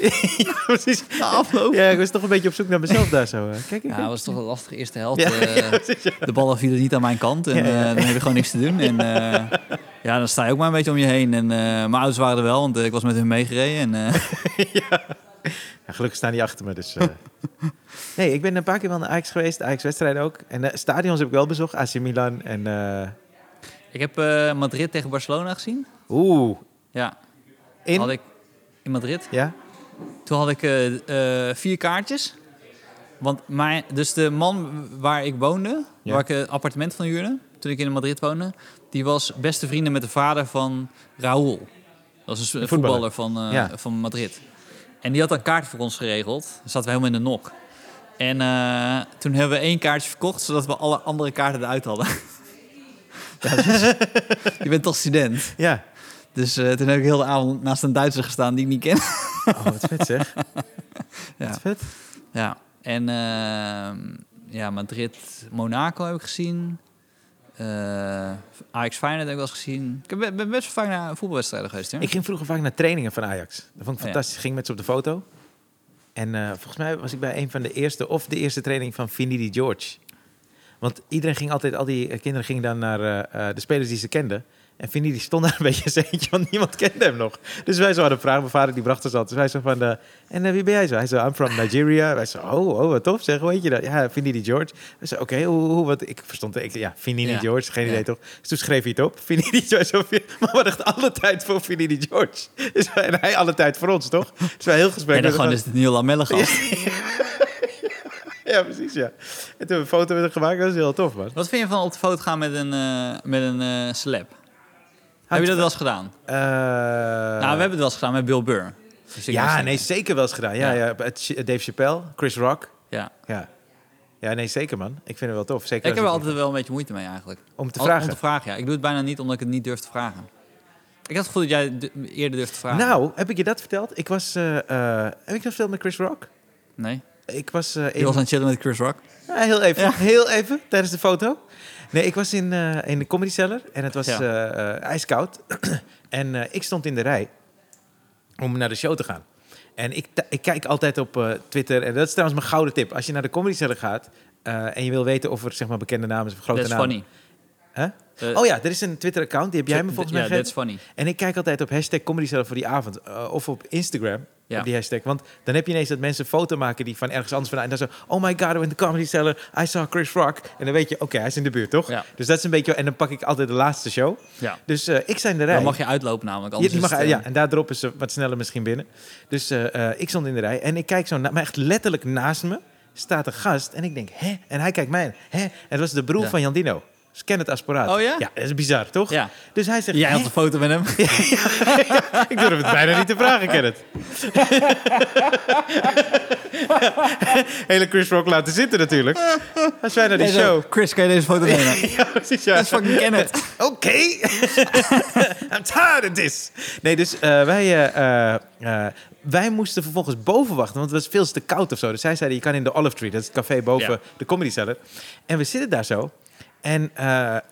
Precies. na afloop? Ja, ik was toch een beetje op zoek naar mezelf daar zo. eh. Kijk, ik Ja, dat was toch een lastige eerste helft. Ja, eh, ja, precies, ja. De ballen vielen niet aan mijn kant en Ja, ja. eh, dan heb je gewoon niks te doen. En eh, ja, dan sta je ook maar een beetje om je heen. En eh, mijn ouders waren er wel, want eh, ik was met hun meegereden. En, eh, Ja, gelukkig staan die achter me, dus... eh. Nee, ik ben een paar keer wel naar Ajax geweest, Ajax-wedstrijden ook. En eh, stadions heb ik wel bezocht, AC Milan en... eh, ik heb eh, Madrid tegen Barcelona gezien. Oeh, Ja, had in... ik in Madrid. Ja? Toen had ik eh, eh, vier kaartjes. Want mijn, dus de man waar ik woonde, Ja. waar ik het appartement van huurde, toen ik in Madrid woonde, die was beste vrienden met de vader van Raúl. Dat was een s- voetballer, voetballer. van, eh, Ja. van Madrid. En die had een kaart voor ons geregeld. Dan zaten we helemaal in de nok. En eh, toen hebben we één kaartje verkocht, zodat we alle andere kaarten eruit hadden. Ja, dat is- je bent toch student. Ja. Dus eh, toen heb ik heel de avond naast een Duitser gestaan die ik niet ken. Oh, wat vet zeg. Ja. Wat vet. Ja, en ehm, ja, Madrid, Monaco heb ik gezien. Eh Ajax Feyenoord heb ik wel eens gezien. Ik ben, ben best wel vaak naar voetbalwedstrijden geweest. Hè? Oh Ik ging vroeger vaak naar trainingen van Ajax. Dat vond ik ja. fantastisch. Ik ging met ze op de foto. En eh, volgens mij was ik bij een van de eerste, of de eerste training van Finidi George. Want iedereen ging altijd, al die eh, kinderen gingen dan naar eh, eh, de spelers die ze kenden. En Finidi stond daar een beetje als eentje, want niemand kende hem nog. Dus wij zo hadden vragen, mijn vader die bracht ons altijd. Dus wij zo van, de, en eh, wie ben jij zo? Hij zei, I'm from Nigeria. Wij zo, oh, oh wat tof zeg, hoe heet je dat? Ja, Finidi George. Wij zo, oké, hoe, hoe, wat? Ik verstond, ik, ja, Finidi Ja. George, geen Ja. idee toch? Dus toen schreef hij het op, Finidi George. of- Maar we hadden echt alle tijd voor Finidi George. Dus wij- en hij alle tijd voor ons, toch? Dus wij heel gesprek. en dan met gewoon hem is het nieuwe lamelle gast. dus- hadden. Ja, precies, ja. En toen hebben we een foto met hem gemaakt, dat is heel tof, man. Wat vind je van op de foto gaan met een, eh met een eh, celeb? heb je dat wel eens gedaan? Eh, nou, we hebben het wel eens gedaan met Bill Burr. Dus ik Ja, moest- nee, zeker wel eens gedaan. Ja, Ja. ja. het- Dave Chappelle, Chris Rock. Ja. Ja. ja, nee, zeker man. Ik vind het wel tof. Zeker Ik heb als er altijd wel een beetje moeite mee eigenlijk. Om te Al- vragen. Om te vragen, ja. Ik doe het bijna niet omdat ik het niet durf te vragen. Ik had het gevoel dat jij d- eerder durfde te vragen. Nou, heb ik je dat verteld? Ik was... eh, eh, heb ik dat verteld met Chris Rock? Nee. Ik was... eh, Je in- was aan het chillen met Chris Rock. Ja, heel even, Ja. heel even, tijdens de foto. Nee, ik was in, eh, in de Comedy Cellar en het was Ja. eh, eh, ijskoud. en eh, ik stond in de rij om naar de show te gaan. En ik, t- ik kijk altijd op eh, Twitter. En dat is trouwens mijn gouden tip. Als je naar de Comedy Cellar gaat eh, en je wil weten of er zeg maar, bekende namen zijn of grote That's namen... funny. Huh? Eh, Oh ja, er is een Twitter-account. Die heb jij me volgens mij Ja, gegeven. that's funny. En ik kijk altijd op hashtag Comedy Cellar voor die avond. eh, of op Instagram, Ja. op die hashtag. Want dan heb je ineens dat mensen een foto maken die van ergens anders vandaan. En dan zo, oh my god, I went to Comedy Cellar. I saw Chris Rock. En dan weet je, oké, hij is in de buurt, toch? Ja. Dus dat is een beetje... En dan pak ik altijd de laatste show. Ja. Dus eh, ik zijn de rij. Dan mag je uitlopen namelijk. Ja, Anders die is mag, het, eh, ja, en daar droppen ze wat sneller misschien binnen. Dus eh, eh, ik stond in de rij en ik kijk zo na- maar echt letterlijk naast me staat een gast en ik denk, hè? En hij kijkt mij, aan, hè? En dat was de broer Ja. van Jan Dino. Dus ken het aspiraat. Oh ja? Ja, dat is bizar, toch? eh, Ja. Dus hij zegt, Jij "Hè?" had een foto met hem. ik durf het bijna niet te vragen, Kenneth. Hele Chris Rock laten zitten natuurlijk. Als wij naar die Jij zo, show... Chris, kan je deze foto nemen? Ja, precies, ja. Dat is fucking Kenneth. Oké. I'm tired of this. Nee, dus eh, wij, eh, eh, eh, wij moesten vervolgens boven wachten, want het was veel te koud of zo. Dus zij zeiden, je kan in de Olive Tree, dat is het café boven Ja. de Comedy Cellar. En we zitten daar zo. En eh, eh,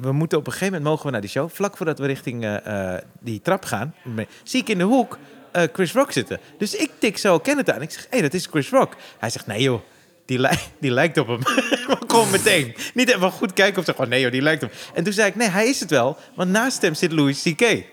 we moeten op een gegeven moment mogen we naar die show. Vlak voordat we richting eh, eh, die trap gaan, me- zie ik in de hoek eh, Chris Rock zitten. Dus ik tik zo Kenneth aan. Ik zeg, hé, hey, dat is Chris Rock. Hij zegt, nee joh, die, li- die lijkt op hem. Maar Kom meteen. Niet even goed kijken of ze gewoon, nee joh, die lijkt op hem. En toen zei ik, nee, hij is het wel. Want naast hem zit Louis C.K.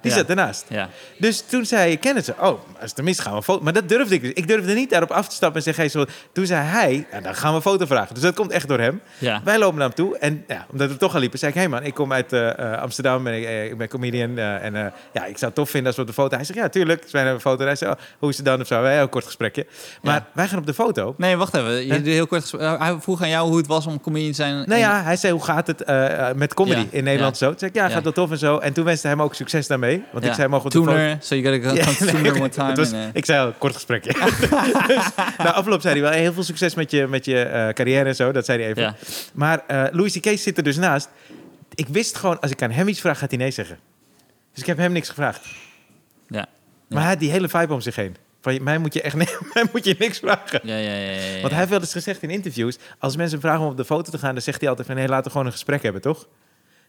Die Ja. zat ernaast. Ja. Dus toen zei Kenneth, zo, oh, als het er mis gaan we een foto. Maar dat durfde ik dus. Ik durfde niet daarop af te stappen en zeggen, hey, zo. Toen zei hij, nou, dan gaan we een foto vragen. Dus dat komt echt door hem. Ja. Wij lopen naar hem toe en ja, omdat we toch al liepen, zei ik, hé man, ik kom uit eh, eh, Amsterdam en ik, eh, ik ben comedian. eh, en eh, ja, ik zou het tof vinden als we op de foto... Hij zegt, ja, tuurlijk. Dus wij hebben een foto. En hij zei, oh, hoe is het dan? Of zo, wij een kort gesprekje. Maar Ja. wij gaan op de foto. Nee, wacht even. Je, Hè? doet heel kort, gesprek. Eh, hij vroeg aan jou hoe het was om comedian te zijn. Nou in- ja, hij zei, hoe gaat het eh, eh, met comedy Ja, in Nederland zo? Toen zei ik, ja, Ja. gaat dat tof en zo. En toen wenste hij hem ook succes daarmee. Want ja. ik zei, mogen we op de foto... Tooner, so you gotta go Ja, nee, come tooner one time. het was- and, eh, Ik zei al, kort gesprekje. dus, na afloop zei hij wel, hey, heel veel succes met je, met je eh, carrière en zo. Dat zei hij even. Ja. Maar eh, Louis C.K. zit er dus naast. Ik wist gewoon, als ik aan hem iets vraag, gaat hij nee zeggen. Dus ik heb hem niks gevraagd. ja. Maar hij had die hele vibe om zich heen. Van, mij moet je echt nee, mij moet je niks vragen. Ja, ja, ja, ja, ja, Want hij heeft wel eens gezegd in interviews... als mensen hem vragen om op de foto te gaan... dan zegt hij altijd van... nee, laten we gewoon een gesprek hebben, toch?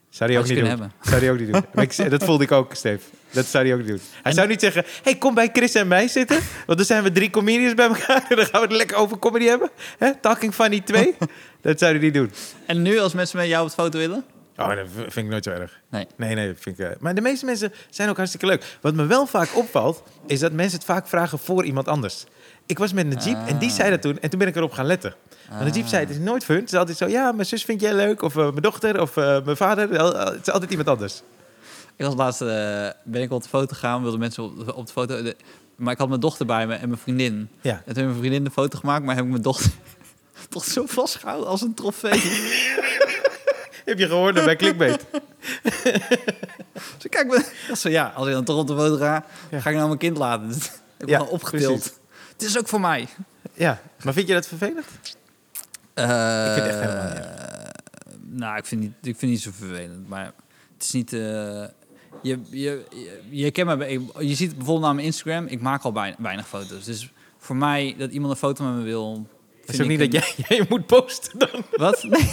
Zou hij ook Had je niet doen. kunnen hebben. Zou hij ook niet doen. Maar ik- dat voelde ik ook, Steve. Dat zou hij ook niet doen. Hij zou niet zeggen... hey, kom bij Chris en mij zitten... want dan zijn we drie comedians bij elkaar... en dan gaan we het lekker over comedy hebben. Hè? Talking Funny 2. dat zou hij niet doen. En nu, als mensen met jou op de foto willen? Oh, dat v- vind ik nooit zo erg. Nee. Nee, nee, dat vind ik... eh, maar de meeste mensen zijn ook hartstikke leuk. Wat me wel vaak opvalt, is dat mensen het vaak vragen voor iemand anders. Ik was met Najib en die zei dat toen. En toen ben ik erop gaan letten. Want Najib zei, het is nooit voor hun. Het is altijd zo, ja, mijn zus vind jij leuk. Of eh, mijn dochter, of eh, mijn vader. Wel, eh, het is altijd iemand anders. Ik was laatst, eh, ben ik op de foto gegaan, wilden mensen op, op de foto... de- maar ik had mijn dochter bij me en mijn vriendin. Ja. En toen heeft mijn vriendin de foto gemaakt, maar heb ik mijn dochter toch zo vastgehouden als een trofee. Heb je gehoord dat bij Clickbait? dus kijk, me, dat is zo, ja, als ik dan toch op de foto ga, Ja. ga ik nou mijn kind laten. Dus ik heb Ja, gewoon opgetild. Eh, precies. Het is ook voor mij. ja. Maar vind je dat vervelend? Eh, Ik vind het echt helemaal niet Nou, ik vind, niet, ik vind het niet zo vervelend, maar het is niet... eh, je, je, je, je kent me, bij- je ziet bijvoorbeeld aan mijn Instagram, ik maak al bijna, weinig foto's. Dus voor mij, dat iemand een foto met me wil... Het is ook niet ik dat jij, jij moet posten dan. een- Wat? Nee.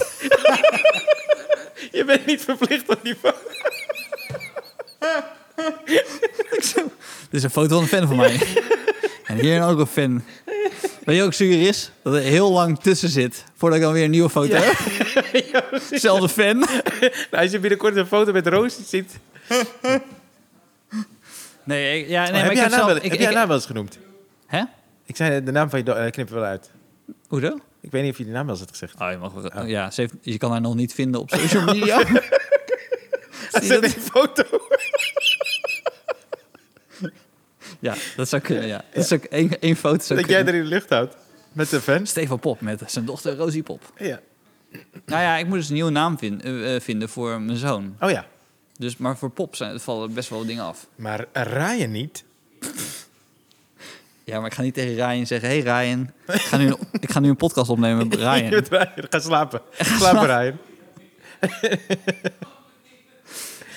Je bent niet verplicht op die foto. Dit is een foto van een fan van mij. En hier een ook een fan. Weet je ook zuur is? Dat er heel lang tussen zit, voordat ik dan weer een nieuwe foto Ja. heb. Ja, precies. Zelfde fan. Nou, als je binnenkort een foto met Roos ziet... Oh, Nee, ik, ja, nee, maar, heb jij haar ik heb naam zelf... wel- ik- heb jij ik- nou- haar naam wel eens genoemd? Hè? Ik zei de naam van je do- eh, knip er wel uit. Hoezo? Ik weet niet of je die naam wel eens had gezegd. Oh, je, mag, ja, ze heeft- je kan haar nog niet vinden op social media. Zie Hij je zet dat? een foto. Ja, dat zou kunnen, ja. Dat is ook één, één foto zou dat jij kunnen. er in de lucht houdt. Met de fans. Stefan Pop met zijn dochter Rosie Pop. Ja. Nou ja, ik moet dus een nieuwe naam vin- eh, eh, vinden voor mijn zoon. Oh ja. Dus, maar voor Pop zijn, vallen best wel dingen af. Maar Ryan niet. Ja, maar ik ga niet tegen Ryan zeggen... Hey Ryan, ik ga nu, een- ik ga nu een podcast opnemen met Je Ryan. bent Ryan. Ga slapen. Slaap Ryan.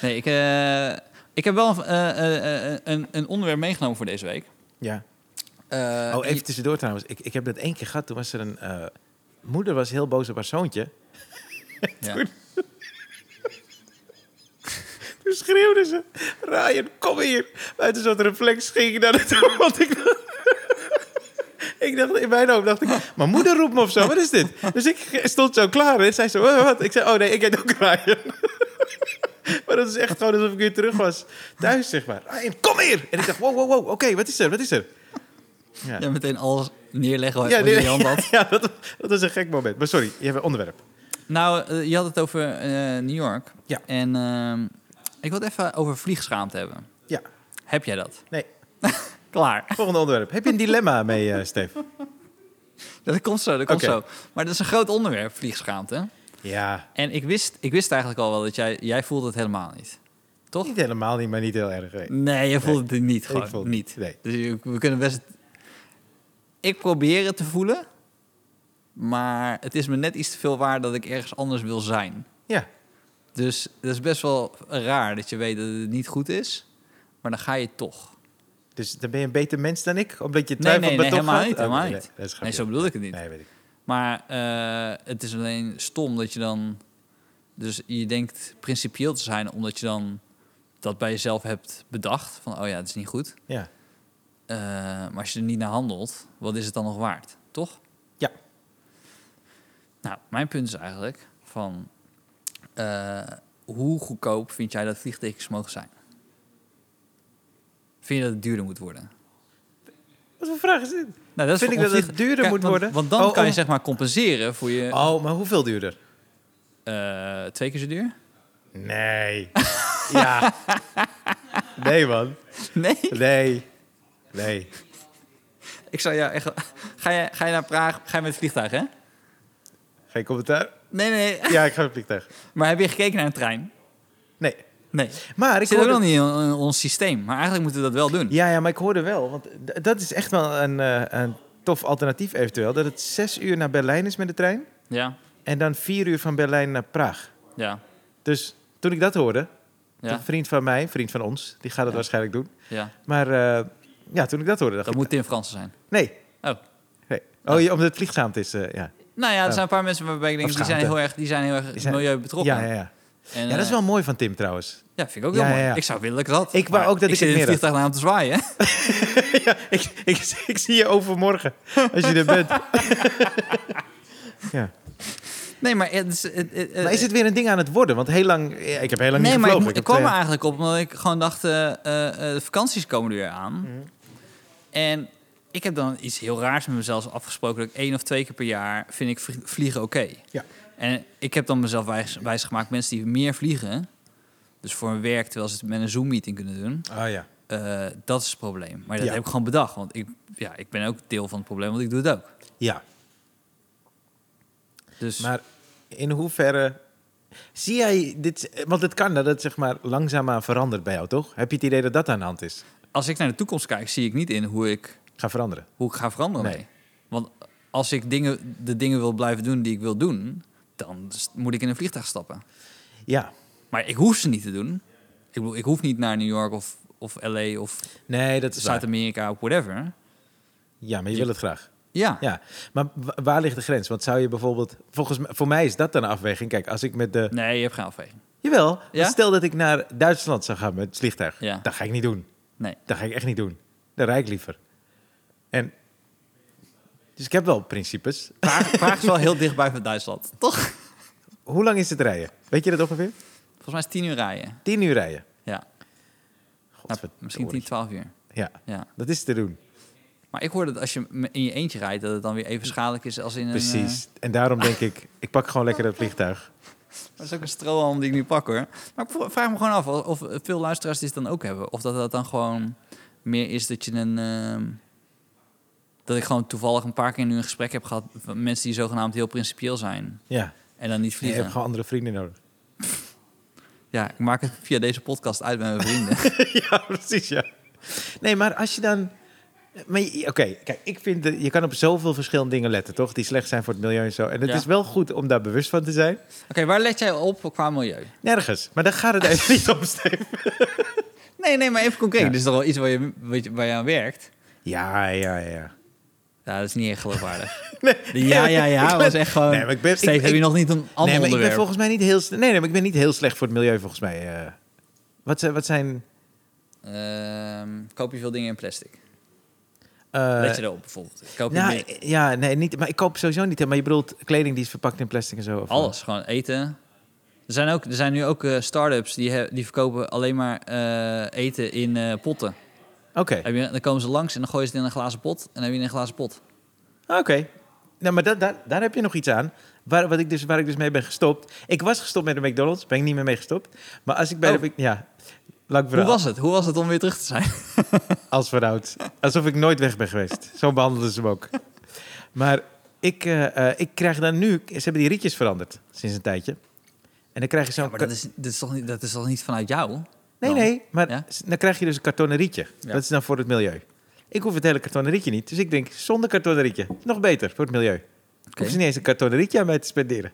Nee, ik... eh, Ik heb wel een, eh, eh, eh, een, een onderwerp meegenomen voor deze week. Ja. Eh, Oh, even tussendoor trouwens. Ik, ik heb dat één keer gehad. Toen was er een... eh, moeder was heel boos op haar zoontje. ja. Toen schreeuwde ze... Ryan, kom hier. Buiten zo'n reflex ging ik naar de toe. Want ik dacht... Ik dacht, in mijn hoofd dacht ik, mijn moeder roept me of zo, wat is dit? Dus ik stond zo klaar en zei ze, "Wa- wat? Ik zei, oh nee, ik heet ook Ryan. Maar dat is echt gewoon alsof ik weer terug was thuis, zeg maar. Ryan, kom hier! En ik dacht, wow, wow, wow, oké, wat is er, wat is er? Ja, meteen alles neerleggen wat Ja, wat je nee, in je hand had. ja, dat, dat is een gek moment. Maar sorry, je hebt een onderwerp. Nou, eh, je had het over eh, New York. Ja. En ehm, ik wil het even over vliegschaamte hebben. Ja, Heb jij dat? nee. Klaar. Volgende onderwerp. Heb je een dilemma mee, eh Steve? Dat komt zo, dat komt Oké. zo. Maar dat is een groot onderwerp, vliegschaamte. Ja, En ik wist, ik wist eigenlijk al wel dat jij, jij voelt het helemaal niet. Toch? niet helemaal niet, maar niet heel erg. nee. Nee, je voelt het niet, ik gewoon voel het niet. niet, Dus je- we kunnen best... Ik probeer het te voelen, maar het is me net iets te veel waar dat ik ergens anders wil zijn. Ja, Dus dat is best wel raar dat je weet dat het niet goed is, maar dan ga je toch. dus dan ben je een beter mens dan ik? Omdat je twijfelt nee, maar nee, toch helemaal gaat? niet, Oh, helemaal nee, niet. dat is een Nee, grapje. zo bedoel ik het niet. Nee, weet ik. Maar eh, het is alleen stom dat je dan... Dus je denkt principieel te zijn omdat je dan dat bij jezelf hebt bedacht. Van, oh ja, het is niet goed. Ja, Eh, maar als je er niet naar handelt, wat is het dan nog waard? Toch? Ja. Nou, mijn punt is eigenlijk van... eh, hoe goedkoop vind jij dat vliegtickets mogen zijn? Vind je dat het duurder moet worden? wat voor vraag is dit? Nou, dat Vind ik voor- om dat het vlieg- duurder Kijk, moet want- worden? Want dan Oh, kan je oh. zeg maar compenseren voor je... Oh, maar hoeveel duurder? Eh, twee keer zo duur? Nee. ja. Nee, man. Nee. Nee. Nee. Ik zou jou echt... Ga je, ga je naar Praag? Ga je met het vliegtuig, hè? Geen commentaar? Nee, nee. Ja, ik ga op vliegtuig. Maar heb je gekeken naar een trein? Nee. Nee. Maar ik Ik zit ook hoorde- nog niet in, in ons systeem. Maar eigenlijk moeten we dat wel doen. Ja, ja, maar ik hoorde wel, want d- dat is echt wel een, eh, een tof alternatief eventueel. Dat het zes uur naar Berlijn is met de trein Ja. en dan vier uur van Berlijn naar Praag. Ja. Dus toen ik dat hoorde, Ja. een vriend van mij, een vriend van ons, die gaat het Ja. waarschijnlijk doen. ja. Maar eh, ja, toen ik dat hoorde, dacht Dat ik, moet Tim Fransen zijn. nee. Oh. nee. Oh, je- omdat het vliegzaamd is, eh, ja. Nou ja, er Oh. zijn een paar mensen waarbij ik denk... Die zijn Afschaamte. heel erg, die zijn heel Die erg zijn- milieu betrokken. Ja, ja, ja. En, ja, dat is eh, wel mooi van Tim trouwens. Ja, vind ik ook wel Ja, mooi. ja, ja. Ik zou willen dat ik dat. Ik wou maar ook dat ik zit in het het meer vliegtuig naar hem te zwaaien. ja, ik, ik, ik zie je over morgen, als je er bent. Eh, ja. Nee, maar... Het is, het- het- Maar is het weer een ding aan het worden? Want heel lang, ja, ik heb heel lang nee, niet maar ik, gevlogen. mo- heb ik eh, kwam er twee- eigenlijk op omdat ik gewoon dacht, eh, eh, eh, de vakanties komen er weer aan. Mhm. En ik heb dan iets heel raars met mezelf afgesproken. Dat ik één of twee keer per jaar vind ik vlie- vliegen oké. Ja. En ik heb dan mezelf wijs, wijsgemaakt, mensen die meer vliegen... dus voor hun werk, terwijl ze het met een Zoom-meeting kunnen doen... Oh ja. eh, dat is het probleem. Maar dat Ja. heb ik gewoon bedacht. Want ik, ja, ik ben ook deel van het probleem, want ik doe het ook. Ja, Dus maar in hoeverre... Zie jij dit... Want het kan dat het zeg maar langzaamaan verandert bij jou, toch? Heb je het idee dat dat aan de hand is? als ik naar de toekomst kijk, zie ik niet in hoe ik... Ga veranderen. hoe ik ga veranderen. Nee. mee. Want als ik dingen, de dingen wil blijven doen die ik wil doen, dan s- moet ik in een vliegtuig stappen. Ja. Maar ik hoef ze niet te doen. Ik, bedoel, ik hoef niet naar New York of, of LA of Nee, dat is waar. Zuid-Amerika of whatever. Ja, maar je Je- wil het graag. Ja, Ja. Maar wa- waar ligt de grens? Want zou je bijvoorbeeld... Volgens mij, voor mij is dat dan een afweging. Kijk, als ik met de... nee, je hebt geen afweging. Jawel, want Ja? stel dat ik naar Duitsland zou gaan met het vliegtuig. Ja. Dat ga ik niet doen. Nee. Dat ga ik echt niet doen. Dat rijd ik liever. En... Dus ik heb wel principes. Praag, Praag is wel heel dichtbij van Duitsland, toch? Hoe lang is het rijden? Weet je dat ongeveer? Volgens mij is het tien uur rijden. Tien uur rijden. Ja, Nou, Godverdorie. misschien 10, 12 uur. Ja, Ja. dat is te doen. Maar ik hoor dat als je m- in je eentje rijdt, dat het dan weer even schadelijk is als in een... eh, Precies. En daarom denk ik, ik pak gewoon lekker het vliegtuig. Dat is ook een strohalm die ik nu pak hoor. Maar ik vro- vraag me gewoon af of- of veel luisteraars dit dan ook hebben. Of dat dat dan gewoon meer is dat je een. ehm, dat ik gewoon toevallig een paar keer nu een gesprek heb gehad. van mensen die zogenaamd heel principieel zijn. Ja, En dan niet je vliegen. hebt gewoon andere vrienden nodig. Ja, ik maak het via deze podcast uit met mijn vrienden. ja, precies, ja. Nee, maar als je dan... maar je- Oké, kijk, ik vind dat je kan op zoveel verschillende dingen letten, toch? Die slecht zijn voor het milieu en zo. En het Ja. is wel goed om daar bewust van te zijn. Oké, waar let jij op qua milieu? Nergens. Maar daar gaat het even niet om, Steve. Nee, nee, maar even concreet. Ja. Dit is toch wel iets waar je, wat je- waar je aan werkt? Ja, ja, ja. Ja, dat is niet echt geloofwaardig. Nee. De ja, ja, ja was echt gewoon... Nee, maar ik ben- Steve, ik- heb ik- je nog niet een ander nee, maar ik ben onderwerp? volgens mij niet heel... s- Nee, nee, maar ik ben niet heel slecht voor het milieu, volgens mij. eh. wat, zijn- wat zijn... Ehm, koop je veel dingen in plastic? eh, Let je erop bijvoorbeeld. Koop je nou, meer- eh, ja, nee, niet, maar ik koop sowieso niet. hè, Maar je bedoelt kleding die is verpakt in plastic en zo? Of Alles, gewoon eten. Er zijn, ook, er zijn nu ook eh, start-ups die, he- die verkopen alleen maar eh, eten in eh, potten. Oké, oké. Heb je, dan komen ze langs en dan gooien ze het in een glazen pot. En dan heb je een glazen pot. Ah, Nou, maar dat, daar- daar heb je nog iets aan. Waar, wat ik dus, waar ik dus mee ben gestopt. Ik was gestopt met de McDonald's, ben ik niet meer mee gestopt. Maar als ik bij Oh. de... Mc- Ja, lang Hoe verhaal. was het? Hoe was het om weer terug te zijn? Als verhoud. Alsof ik nooit weg ben geweest. Zo behandelden ze hem ook. Maar ik, eh, eh, ik krijg dan nu... Ze hebben die rietjes veranderd sinds een tijdje. En dan krijg je zo'n... Maar dat is, dat, is toch niet, dat is toch niet vanuit jou? nee, dan? nee. Maar Ja? s- dan krijg je dus een kartonnen rietje. Ja. Dat is dan voor het milieu. Ik hoef het hele kartonnen rietje niet. Dus ik denk, zonder kartonnen rietje. Nog beter voor het milieu. Ik Oké. hoef ze niet eens een kartonnen rietje aan mij te spenderen.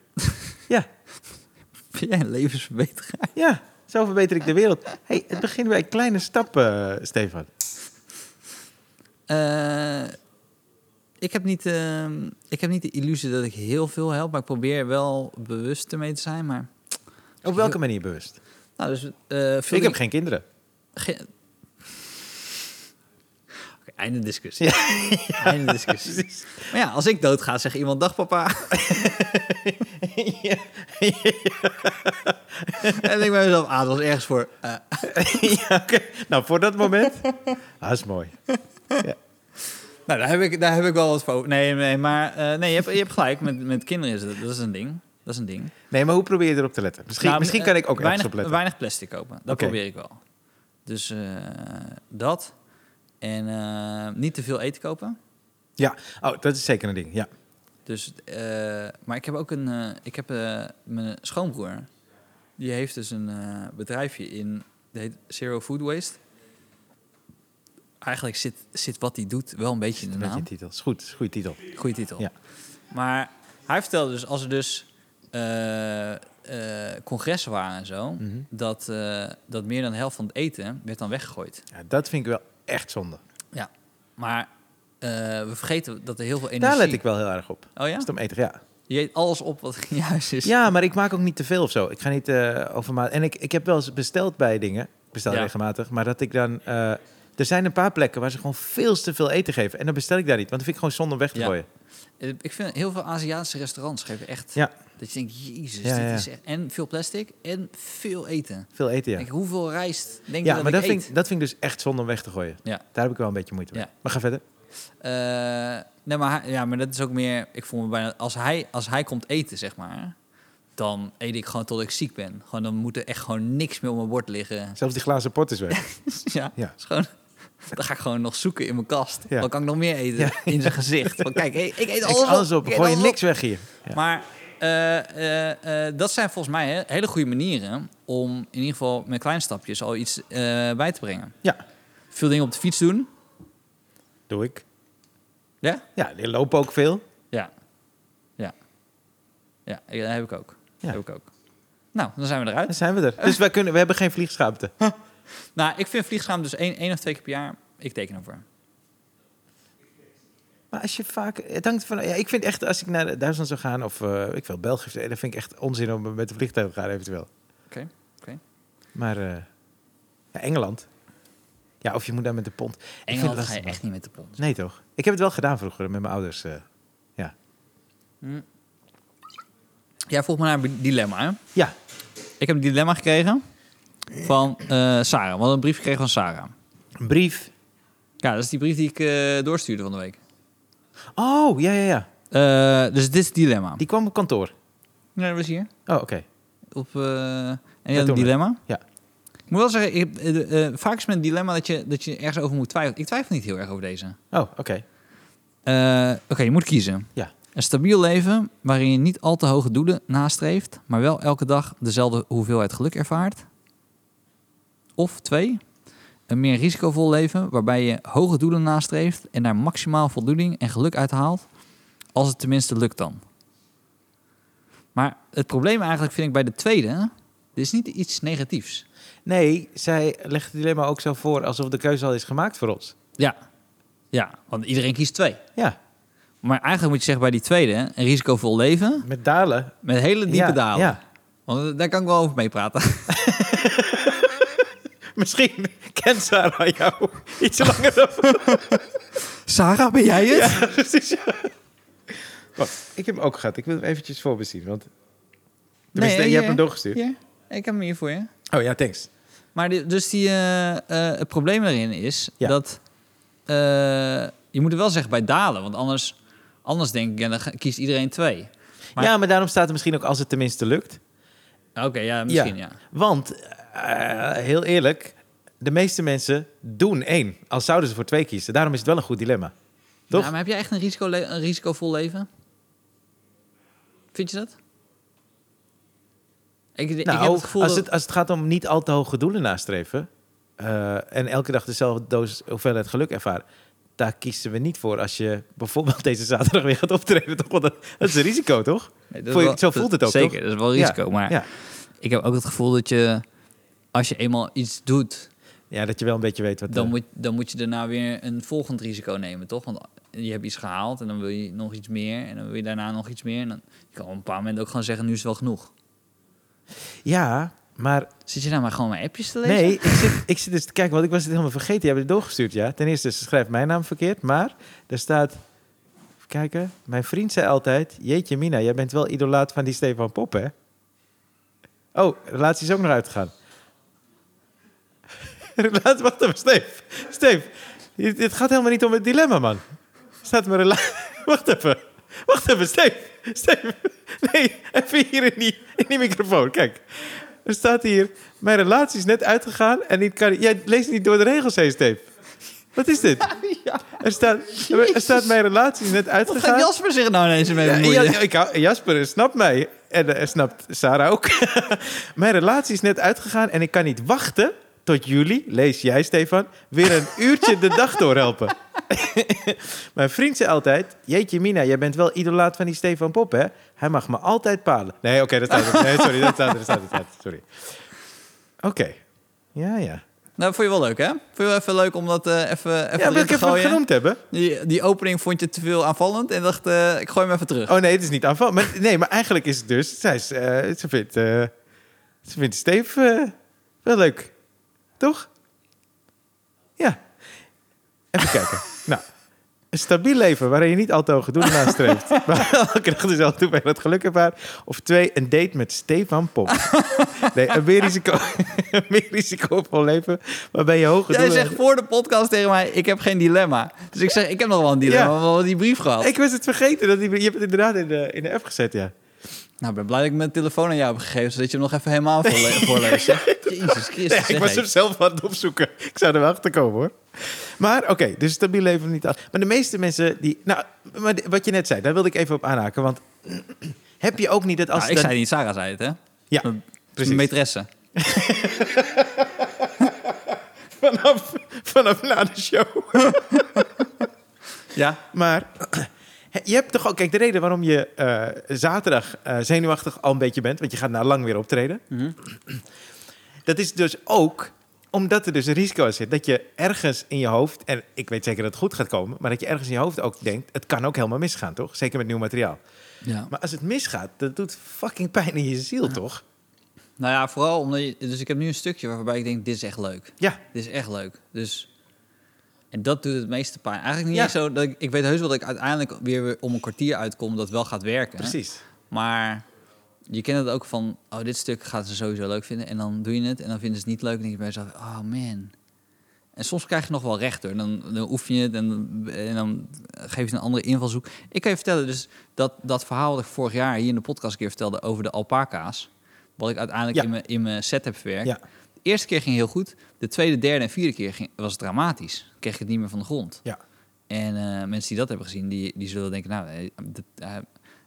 ja, Ben jij een levensverbeteraar? ja. Zo verbeter ik de wereld. hey, het begint bij kleine stappen, Stefan. Eh, ik, heb niet, ehm, ik heb niet de illusie dat ik heel veel help. Maar ik probeer wel bewust ermee te zijn. Maar, Op welke manier bewust? nou, dus, eh, veel ik heb dingen- geen kinderen. Ge- Oké, einde discussie. Einde discussie. Maar ja, als ik doodga, zegt iemand dag papa. en ik ben mezelf, ah, dat was ergens voor. eh, ja, oké. Nou, voor dat moment. Ah, is mooi. nou, daar heb, ik, daar heb ik wel wat voor. Nee, nee, maar eh, nee, je, hebt, je hebt gelijk. Met, met kinderen is dat, dat is een ding. Dat is een ding. Nee, maar hoe probeer je erop te letten? Misschien, Nou, misschien eh, kan ik ook ergens weinig, op letten. weinig plastic kopen. Dat Oké. probeer ik wel. Dus eh, dat. En eh, niet te veel eten kopen. Ja, oh, dat is zeker een ding. Ja. Dus, eh, maar ik heb ook een, eh, ik heb eh, mijn schoonbroer, die heeft dus een eh, bedrijfje in, dat heet Zero Food Waste. Eigenlijk zit, zit wat hij doet wel een beetje in de Met je naam. titel. Is goed, is goede titel. Goeie titel. Ja. Maar hij vertelde dus, als er dus eh, eh, congressen waren en zo, Mhm. dat, eh, dat meer dan de helft van het eten werd dan weggegooid. Ja, dat vind ik wel echt zonde. Maar eh, we vergeten dat er heel veel energie... Daar let ik wel heel erg op. Oh ja? Als het om eten gaat, ja. Je eet alles op wat in je huis is. Ja, maar ik maak ook niet te veel of zo. Ik ga niet eh overmaat. En ik, ik heb wel eens besteld bij dingen. Ik bestel Ja. regelmatig. Maar dat ik dan... eh, er zijn een paar plekken waar ze gewoon veel te veel eten geven. En dan bestel ik daar niet. Want dat vind ik gewoon zonde om weg te Ja. gooien. Eh, Ik vind heel veel Aziatische restaurants geven echt... Ja. Dat je denkt, jezus, Ja, dit ja. is echt... En veel plastic en veel eten. Veel eten, ja. Denk, hoeveel rijst denk ja, je dat maar ik dat eet? vind, ik- dat vind ik dus echt zonde om weg te gooien. Ja. Daar heb ik wel een beetje moeite mee. Ja. Maar ga verder. Eh, nee, maar, hij- ja, maar dat is ook meer... Ik voel me bijna... Als hij, als hij komt eten, zeg maar... Dan eet ik gewoon tot ik ziek ben. Gewoon, dan moet er echt gewoon niks meer op mijn bord liggen. Zelfs die glazen pot is weg. ja, Ja. is gewoon... Dan ga ik gewoon nog zoeken in mijn kast. Ja. Wat kan ik nog meer eten? Ja. In zijn gezicht. Van, kijk, hey, ik eet Ik alles op. alles op. ik eet Gooi je alles op. niks weg hier. Ja. Maar eh, eh, eh, dat zijn volgens mij hè, hele goede manieren om in ieder geval met kleine stapjes al iets eh, bij te brengen. Ja, Veel dingen op de fiets doen. doe ik. Ja? Ja, die lopen ook veel. Ja. Ja. Ja, eh, dat heb ik ook. Ja. Heb ik ook. Nou, dan zijn we Dan eruit. zijn we er. Dus wij kunnen, we hebben geen vliegschaamte. Nou, ik vind vliegschaam dus één, één of twee keer per jaar. Ik teken ervoor. Maar als je vaak... Het hangt van, ja, ik vind echt, als ik naar Duitsland zou gaan of eh, ik wil België, eh, dan vind ik echt onzin om met de vliegtuig te gaan eventueel. Oké, oké. Maar eh, ja, Engeland. Ja, of je moet daar met de pond. Ik vind het Engeland ga lastig, je man. echt niet met de pond. Nee, toch? Ik heb het wel gedaan vroeger met mijn ouders. eh. Jij vroeg me naar een dilemma, hè? Ja, Ik heb een dilemma gekregen van eh, Sarah. We hadden een brief gekregen van Sarah. een brief. Ja, dat is die brief die ik eh, doorstuurde van de week. Oh, ja, ja, ja. Eh, dus dit is het dilemma. Die kwam op kantoor. Nee, dat was hier. Oh, oké. Op, eh, en je doen had we. een dilemma. Ja. Ik moet wel zeggen, ik, eh, de, eh, vaak is mijn dilemma dat je, dat je ergens over moet twijfelen. Ik twijfel niet heel erg over deze. Oh, oké. Eh, Oké, je moet kiezen. Ja. Een stabiel leven waarin je niet al te hoge doelen nastreeft, maar wel elke dag dezelfde hoeveelheid geluk ervaart. Of twee, een meer risicovol leven waarbij je hoge doelen nastreeft en daar maximaal voldoening en geluk uit haalt, als het tenminste lukt dan. Maar het probleem eigenlijk vind ik bij de tweede, dit is niet iets negatiefs. Nee, zij legt het dilemma ook zo voor alsof de keuze al is gemaakt voor ons. Ja. ja, want iedereen kiest twee. Ja, Maar eigenlijk moet je zeggen bij die tweede, hè, een risicovol leven met dalen. met hele diepe ja, dalen. Ja. Want daar kan ik wel over meepraten. Misschien kent Sarah jou iets langer dan... Sarah, ben jij het? Ja, precies. ja. Wacht, ik heb hem ook gehad. Ik wil hem eventjes voor me zien, want... Tenminste, je hier. hebt hem doorgestuurd. Hier, ik heb hem hier voor je. Oh ja, thanks. Maar die- dus die, eh, eh, het probleem daarin is Ja. dat eh, je moet het wel zeggen bij dalen, want anders, anders denk ik, en dan ga- kiest iedereen twee. Maar- Ja, maar daarom staat er misschien ook als het tenminste lukt. Nou, Oké, ja, misschien ja. Want, eh, heel eerlijk, de meeste mensen doen één. Als zouden ze voor twee kiezen. Daarom is het wel een goed dilemma. Toch? Ja, maar heb jij echt een, risico le- een risicovol leven? Vind je dat? Ik, ik heb Nou, het gevoel als, dat... het, als het gaat om niet al te hoge doelen nastreven... eh, en elke dag dezelfde dosis hoeveelheid geluk ervaren... daar kiezen we niet voor als je bijvoorbeeld deze zaterdag weer gaat optreden. Toch? Want dat, dat is een risico, toch? Nee, dat Voel is je- wel- zo voelt dat- het ook, Zeker, toch? dat is wel risico. maar Ja. ik heb ook het gevoel dat je, als je eenmaal iets doet, ja, dat je wel een beetje weet wat... dan eh, moet, dan moet je daarna weer een volgend risico nemen, toch? Want je hebt iets gehaald en dan wil je nog iets meer en dan wil je daarna nog iets meer. En dan je kan op een bepaald moment ook gewoon zeggen, nu is het wel genoeg. Ja, maar Zit je nou maar gewoon mijn appjes te lezen? Nee, ik zit, ik zit dus te kijken, want ik was het helemaal vergeten. Je hebt het doorgestuurd, ja. Ten eerste, ze schrijft mijn naam verkeerd, maar er staat... Even kijken. Mijn vriend zei altijd... Jeetje Mina, jij bent wel idolaat van die Stefan Pop, hè? Oh, relatie is ook nog uitgegaan. relatie, wacht even, Steef. Steef, dit, dit gaat helemaal niet om het dilemma, man. Staat mijn relatie... Wacht even. Wacht even, Steef. Steef. Nee, even hier in die, in die microfoon. Kijk. Er staat hier... Mijn relatie is net uitgegaan en niet kan... Jij leest niet door de regels heen, Steef. Wat is dit? Er staat, er staat mijn relatie is net Wat gaat uitgegaan. Jasper zich nou ineens mee Ja, bemoeien? ja, ik hou- Jasper snapt mij. En eh, snapt Sarah ook. Mijn relatie is net uitgegaan en ik kan niet wachten tot jullie, lees jij Stefan, weer een uurtje de dag doorhelpen. Mijn vriend zei altijd, jeetje Mina, jij bent wel idolaat van die Stefan Pop, hè? Hij mag me altijd palen. Nee, oké, dat staat er. Nee, sorry, dat staat er. Dat staat er, dat staat er, sorry. Oké. Ja, ja. Nou, vond je wel leuk, hè? Vond je wel even leuk om dat eh, even, even Ja, wil erin ik te even hem gooien? genoemd hebben? Die, die opening vond je te veel aanvallend en dacht, eh, ik gooi hem even terug. Oh nee, het is niet aanval. Maar, nee, maar eigenlijk is het dus... Zij is, eh, ze, vindt, eh, ze vindt Steve eh, wel leuk. Toch? Ja. Even kijken. Nou, een stabiel leven waarin je niet al te hoge doelen nastreeft. maar elke dag dezelfde toe bij dat geluk ervaart. Of twee, een date met Stefan Pop. nee, een meer, risico, een meer risicovol leven waarbij je hoge Jij doelen... zegt voor de podcast tegen mij, ik heb geen dilemma. Dus ik zeg, ik heb nog wel een dilemma, Ja. want we hebben die brief gehad. Ik was het vergeten. Dat die, je hebt het inderdaad in de, in de app gezet, ja. Nou, ik ben blij dat ik mijn telefoon aan jou heb gegeven, zodat je hem nog even helemaal voorle voorleest. Jezus Christus. Nee, zeg, ik was hé. hem zelf aan het opzoeken. Ik zou er wel achter komen hoor. Maar oké, dus stabiel leven niet af. Maar de meeste mensen die. Nou, maar de- wat je net zei, daar wilde ik even op aanhaken. Want heb je ook niet dat als. Nou, het ik dan- zei niet, Sarah zei het, hè? Ja, Mijn- precies. Mijn maîtresse. vanaf, vanaf na de show. Ja? Maar je hebt toch ook. Kijk, de reden waarom je eh, zaterdag eh, zenuwachtig al een beetje bent. Want je gaat na lang weer optreden. Mhm. Dat is dus ook omdat er dus een risico aan zit dat je ergens in je hoofd, en ik weet zeker dat het goed gaat komen, maar dat je ergens in je hoofd ook denkt, het kan ook helemaal misgaan, toch? Zeker met nieuw materiaal. ja. Maar als het misgaat, dat doet fucking pijn in je ziel, toch? Nou ja, vooral omdat je, Dus ik heb nu een stukje waarbij ik denk, dit is echt leuk. Ja. Dit is echt leuk. Dus... En dat doet het meeste pijn. Eigenlijk niet Ja. eens zo dat ik... Ik weet heus wel dat ik uiteindelijk weer weer om een kwartier uitkom dat wel gaat werken. hè? Precies. Maar je kent het ook van, oh, dit stuk gaan ze sowieso leuk vinden. En dan doe je het en dan vinden ze het niet leuk. En dan denk je bij jezelf, oh man. En soms krijg je nog wel recht hoor. Dan, dan oefen je het en, dan- en dan geef je een andere invalshoek. Ik kan je vertellen, dus dat, dat verhaal dat ik vorig jaar hier in de podcast een keer vertelde over de alpaca's. Wat ik uiteindelijk Ja. in, mijn, in mijn set heb verwerkt. Ja. De eerste keer ging heel goed. De tweede, derde en vierde keer ging, was het dramatisch. Kreeg ik het niet meer van de grond. Ja. En eh, mensen die dat hebben gezien, die, die zullen denken, nou, eh, dat, eh,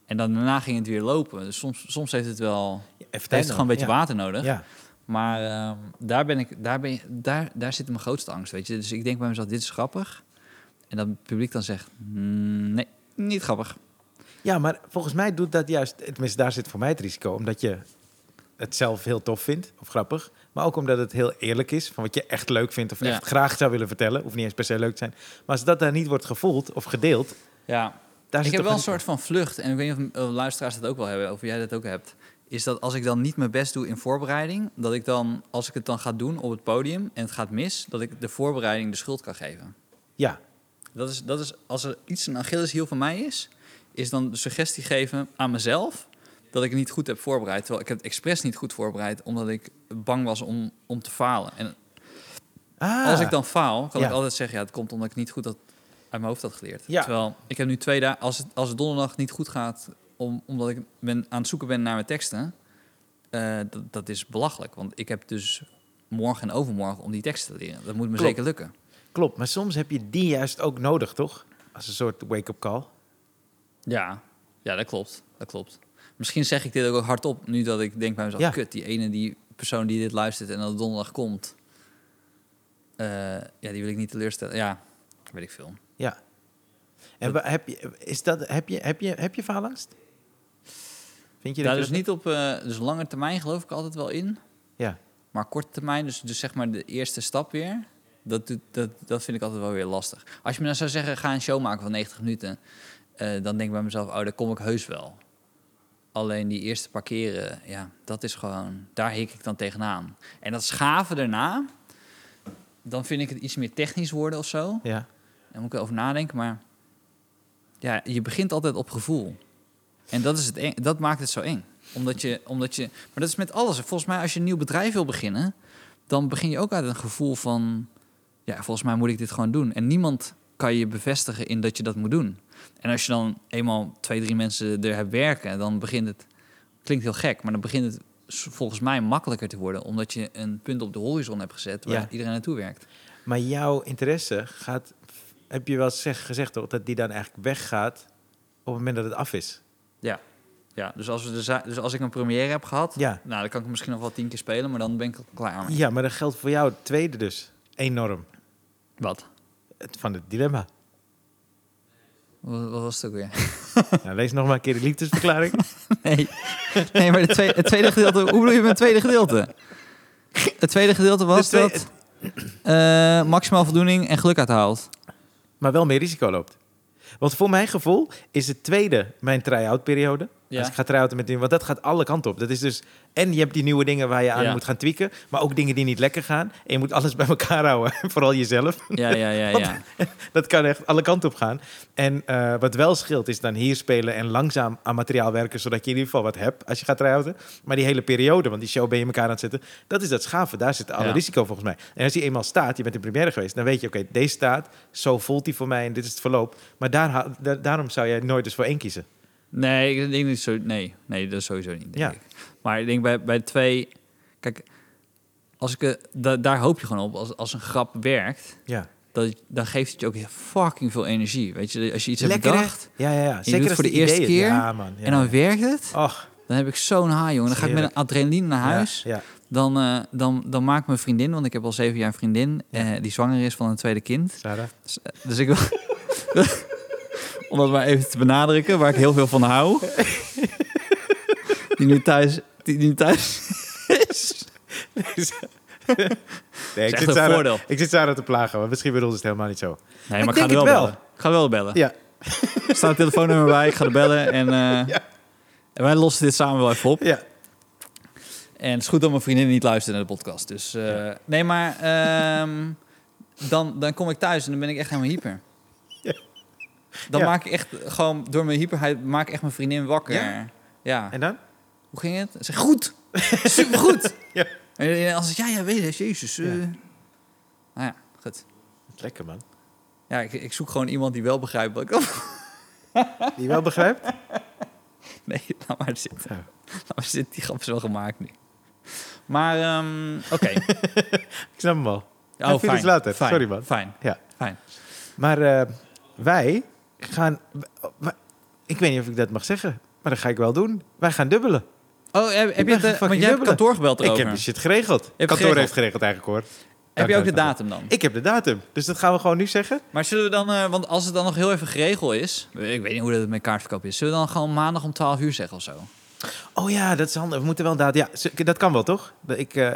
en dan daarna ging het weer lopen. Dus soms, soms heeft het wel heeft het gewoon een beetje water nodig. Ja. Maar ehm, daar, ben ik, daar, ben, daar, daar zit mijn grootste angst, weet je. Dus ik denk bij mezelf, dit is grappig. En dat het publiek dan zegt, "Mm, nee, niet grappig. ja, maar volgens mij doet dat juist, tenminste daar zit voor mij het risico, omdat je het zelf heel tof vindt of grappig. Maar ook omdat het heel eerlijk is van wat je echt leuk vindt of Ja. echt graag zou willen vertellen. Hoeft niet eens per se leuk te zijn. Maar als dat daar niet wordt gevoeld of gedeeld, Ja. daar zit Ik heb toch wel een soort van vlucht, en ik weet niet of eh, luisteraars dat ook wel hebben, of jij dat ook hebt. Is dat als ik dan niet mijn best doe in voorbereiding, dat ik dan, als ik het dan ga doen op het podium en het gaat mis, dat ik de voorbereiding de schuld kan geven. Ja, Dat is, dat is als er iets een Achilleshiel van mij is, is dan de suggestie geven aan mezelf dat ik het niet goed heb voorbereid. Terwijl ik heb het expres niet goed voorbereid, omdat ik bang was om, om te falen. En Ah, als ik dan faal, kan Ja. ik altijd zeggen, ja, het komt omdat ik niet goed dat uit mijn hoofd had geleerd. Ja. Terwijl ik heb nu twee dagen, als het, als het donderdag niet goed gaat, om, omdat ik ben, aan het zoeken ben naar mijn teksten, eh, dat, dat is belachelijk. Want ik heb dus morgen en overmorgen om die teksten te leren. Dat moet me Klopt. zeker lukken. klopt. Maar soms heb je die juist ook nodig, toch? Als een soort wake-up call. Ja, ja dat klopt. Dat klopt. Misschien zeg ik dit ook hardop nu dat ik denk bij mezelf... Ja. kut, die ene die persoon die dit luistert en dat donderdag komt... eh, ja, die wil ik niet teleurstellen. Ja, weet ik veel. Ja. En wa- heb je, is dat, heb je, heb je, heb je faalangst? Vind je dat? Daar je dus dat- niet op... eh, dus lange termijn geloof ik altijd wel in. Ja. Maar korte termijn, dus, dus zeg maar de eerste stap weer... Dat, doet, dat, dat vind ik altijd wel weer lastig. Als je me nou zou zeggen, ga een show maken van 90 minuten... eh, dan denk ik bij mezelf, oh, daar kom ik heus wel. Alleen die eerste parkeren, ja, dat is gewoon... Daar hik ik dan tegenaan. En dat schaven daarna... Dan vind ik het iets meer technisch worden of zo. Ja. Daar moet ik over nadenken, maar... Ja, je begint altijd op gevoel. En dat, is het eng, dat maakt het zo eng. Omdat je, omdat je... Maar dat is met alles. Volgens mij, als je een nieuw bedrijf wil beginnen... dan begin je ook uit een gevoel van... Ja, volgens mij moet ik dit gewoon doen. En niemand kan je bevestigen in dat je dat moet doen. En als je dan eenmaal twee, drie mensen er hebt werken... dan begint het... Klinkt heel gek, maar dan begint het s- volgens mij makkelijker te worden... omdat je een punt op de horizon hebt gezet... waar Ja. iedereen naartoe werkt. Maar jouw interesse gaat, heb je wel eens zeg, gezegd toch, dat die dan eigenlijk weggaat op het moment dat het af is? Ja. Ja, dus als, we de za- dus als ik een première heb gehad, Ja. nou, dan kan ik misschien nog wel tien keer spelen, maar dan ben ik al klaar mee. Ja, maar dat geldt voor jou het tweede dus. Enorm. Wat? Het, van het dilemma. Wat wat was het ook weer? Nou, lees nog maar een keer de liefdesverklaring. Nee, nee maar het tweede, het tweede gedeelte, hoe bedoel je met het tweede gedeelte? Het tweede gedeelte was Dus twee- dat eh, maximaal voldoening en geluk uithaalt. maar wel meer risico loopt. Want voor mijn gevoel is het tweede mijn try-out periode. Ja. Als ik ga try-outen met dingen, want dat gaat alle kanten op. Dat is dus, en je hebt die nieuwe dingen waar je aan Ja. moet gaan tweaken, maar ook dingen die niet lekker gaan. En je moet alles bij elkaar houden, vooral jezelf. Ja, ja, ja, ja. Dat kan echt alle kanten op gaan. En eh, wat wel scheelt is dan hier spelen en langzaam aan materiaal werken, zodat je in ieder geval wat hebt als je gaat try-outen. Maar die hele periode, want die show ben je elkaar aan het zetten, dat is dat schaven. Daar zit alle Ja. risico volgens mij. En als die eenmaal staat, je bent in première geweest, dan weet je, oké, deze staat, zo voelt die voor mij en dit is het verloop. Maar daar, ha- da- daarom zou jij nooit dus voor één kiezen. Nee, ik denk niet zo. Nee, nee dat is sowieso niet. Denk Ja. ik. Maar ik denk bij, bij twee. Kijk, als ik, eh, da- daar hoop je gewoon op. Als, als een grap werkt, Ja. dat, dan geeft het je ook fucking veel energie. Weet je, als je iets Lekker, hebt hè? bedacht Ja, ja, ja. en je doet het voor de eerste ideeën- keer Ja, man. Ja. en dan werkt het, Och, dan heb ik zo'n haai, jongen. Dan ga ik met een Heerlijk. adrenaline naar ja, huis. Ja, Dan, eh, dan, dan maakt mijn vriendin, want ik heb al zeven jaar een vriendin Ja. eh, die zwanger is van een tweede kind. Sarah. Dus, eh, dus ik wil, om dat maar even te benadrukken, waar ik heel veel van hou. die nu thuis, die nu thuis is. Nee, ik, echt zit een Sarah, voordeel. ik zit Sarah te plagen, maar misschien bedoelde ze het helemaal niet zo. Nee, Ik maar ik, ga denk er wel, het wel. bellen. Ik ga er wel bellen. Ja. Er staat een telefoonnummer bij, ik ga er bellen. En, eh, en wij lossen dit samen wel even op. Ja. En het is goed dat mijn vriendin niet luistert naar de podcast. Dus eh, Ja. nee, maar ehm, dan, dan kom ik thuis en dan ben ik echt helemaal hyper. Ja. Dan Ja. maak ik echt gewoon door mijn hyperheid maak ik echt mijn vriendin wakker. Ja? Ja. En dan? Hoe ging het? Ze Zeg goed, supergoed. Ja. En als ik ja, ja, weet het, Jezus. eh. Ja. Nou ja, goed. Lekker, man. Ja, ik, ik zoek gewoon iemand die wel begrijpt wat ik Die wel begrijpt? Nee, laat maar zitten. Ja. Laat maar zitten, die grap is wel gemaakt nu. Maar, ehm, oké. Ik snap hem wel. Oh, En veel fijn. is later. Fijn. Sorry, man. Fijn. Ja. Fijn. Maar eh, wij gaan... w- w- Ik weet niet of ik dat mag zeggen, maar dat ga ik wel doen. Wij gaan dubbelen. Oh, ben heb, heb je geen het, want fucking jij hebt dubbele. kantoor gebeld Ik erover. heb de shit geregeld. het Kantoor geregeld? heeft geregeld eigenlijk, hoor. Heb je ook de Dankjewel. datum dan? Ik heb de datum. Dus dat gaan we gewoon nu zeggen. Maar zullen we dan, eh, want als het dan nog heel even geregeld is, ik weet niet hoe dat met kaartverkoop is, zullen we dan gewoon maandag om 12 uur zeggen of zo? Oh ja, dat is handig. We moeten wel daad. Ja, ze- dat kan wel, toch? Dat- Ik, eh,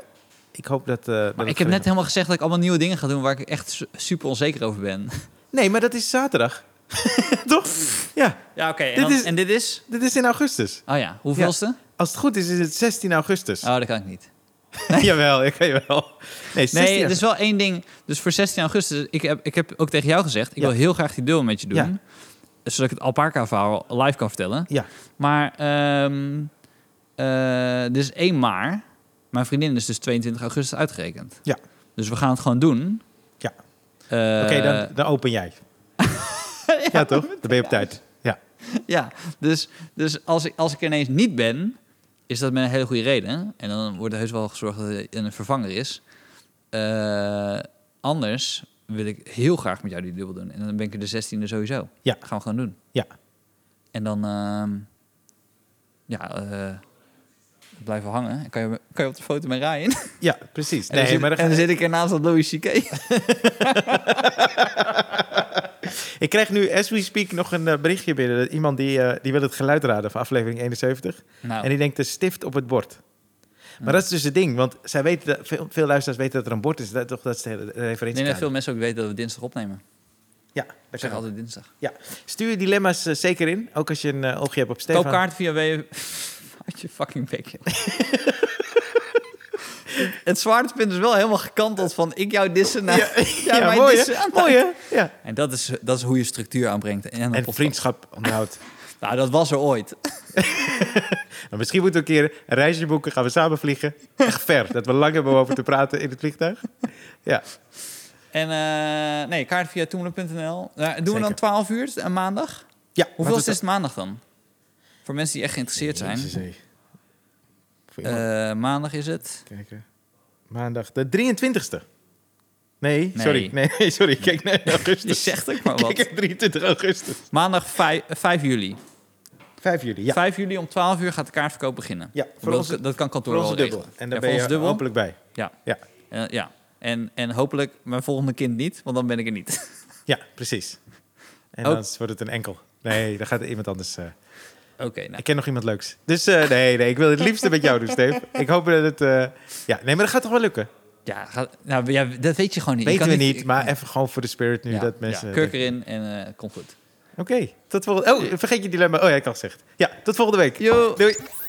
ik hoop dat. eh, dat Maar het ik heb net geregeld- helemaal gezegd dat ik allemaal nieuwe dingen ga doen waar ik echt su- super onzeker over ben. Nee, maar dat is zaterdag. toch? Ja, Ja, oké. Dit En, dan- is- en dit is? dit is in augustus. Oh ja, hoeveelste? Als het goed is, is het 16 augustus. Oh, dat kan ik niet. jawel, ik kan je wel. Nee, 16 Oh. Nee, er augustus. is wel één ding. Dus voor 16 augustus, ik heb, ik heb ook tegen jou gezegd... ik Ja. wil heel graag die duel met je doen. Ja. Zodat ik het alpaca-verhaal live kan vertellen. Ja. Maar ehm eh, dit is 1 maar. Mijn vriendin is dus 22 augustus uitgerekend. Ja. Dus we gaan het gewoon doen. Ja. Eh, Oké, dan, dan open jij. ja, toch? Dan ben je op tijd. Ja. Ja, dus, dus als, ik, als ik er ineens niet ben, is dat met een hele goede reden. En dan wordt er heus wel gezorgd dat er een vervanger is. Eh, anders wil ik heel graag met jou die dubbel doen. En dan ben ik er de 16e sowieso. Ja. Gaan we gewoon doen. Ja. En dan ehm, ja, eh, blijven hangen. En Kan je, kan je op de foto met Ryan? Ja, precies. en, dan Nee, zit, maar dan en ga- dan zit ik ernaast dat Louis C.K. ik krijg nu, as we speak, nog een eh, berichtje binnen. Dat iemand die, eh, die wil het geluid raden van aflevering 71. nou, En die denkt de stift op het bord. Maar Ja. dat is dus het ding, want zij weten dat, veel, veel luisteraars weten dat er een bord is. Dat, toch, dat is de hele ik referentie. denk dat veel mensen ook weten dat we dinsdag opnemen. Ja, Ik dat zeg kan. altijd dinsdag. Stuur je dilemma's eh, zeker in, ook als je een eh, oogje hebt op Stefan. Koop kaart via W. Had je fucking bek. joh. het zwaartepunt is wel helemaal gekanteld van ik jou dissen naar Ja, jij ja, mij mooi, hè? dissen. Mooi, hè? Ja. En dat is, dat is hoe je structuur aanbrengt. En, een En podcast. vriendschap onderhoudt. Nou, dat was er ooit. Maar Nou, misschien moeten we een keer een reisje boeken. Gaan we samen vliegen. Echt ver. dat we lang hebben om over te praten in het vliegtuig. Ja, En eh, nee, kaart via toemelen.nl. Nou, doen we Zeker. dan 12 uur een maandag? ja Hoeveel is laten het maandag dan? Voor mensen die echt geïnteresseerd we zijn. Jezus, hé. Voor iemand Eh, maandag is het. kijken. Maandag, de 23ste. Nee, Nee. sorry. Nee, nee, sorry. Kijk naar Je augustus. zegt ook maar Kijk wat. naar 23 augustus. Maandag 5, 5 juli. 5 juli, ja. 5 juli om 12 uur gaat de kaartverkoop beginnen. Ja, Ik voor bedoel, ons, dat- dat kan kantoor voor ons wel dubbel. regelen. En Ja, daar voor ben je ons dubbel. hopelijk bij. Ja. Ja, Eh, ja. En, en hopelijk mijn volgende kind niet, want dan ben ik er niet. ja precies. En Ook- dan wordt het een enkel. Nee, dan gaat iemand anders... eh, Oké, nou. Ik ken nog iemand leuks. Dus eh, nee, nee, ik wil het liefste met jou doen, Steve. Ik hoop dat het... eh, ja, nee, maar dat gaat toch wel lukken? Ja, ga- nou, ja, dat weet je gewoon niet. Je Weten kan we niet, ik- maar even gewoon voor de spirit nu ja, dat mensen... Ja, kurk erin en eh, het komt goed. Oké, tot volgende... Oh, vergeet je dilemma. Oh ja, ik had gezegd. Ja, tot volgende week. Yo. Doei.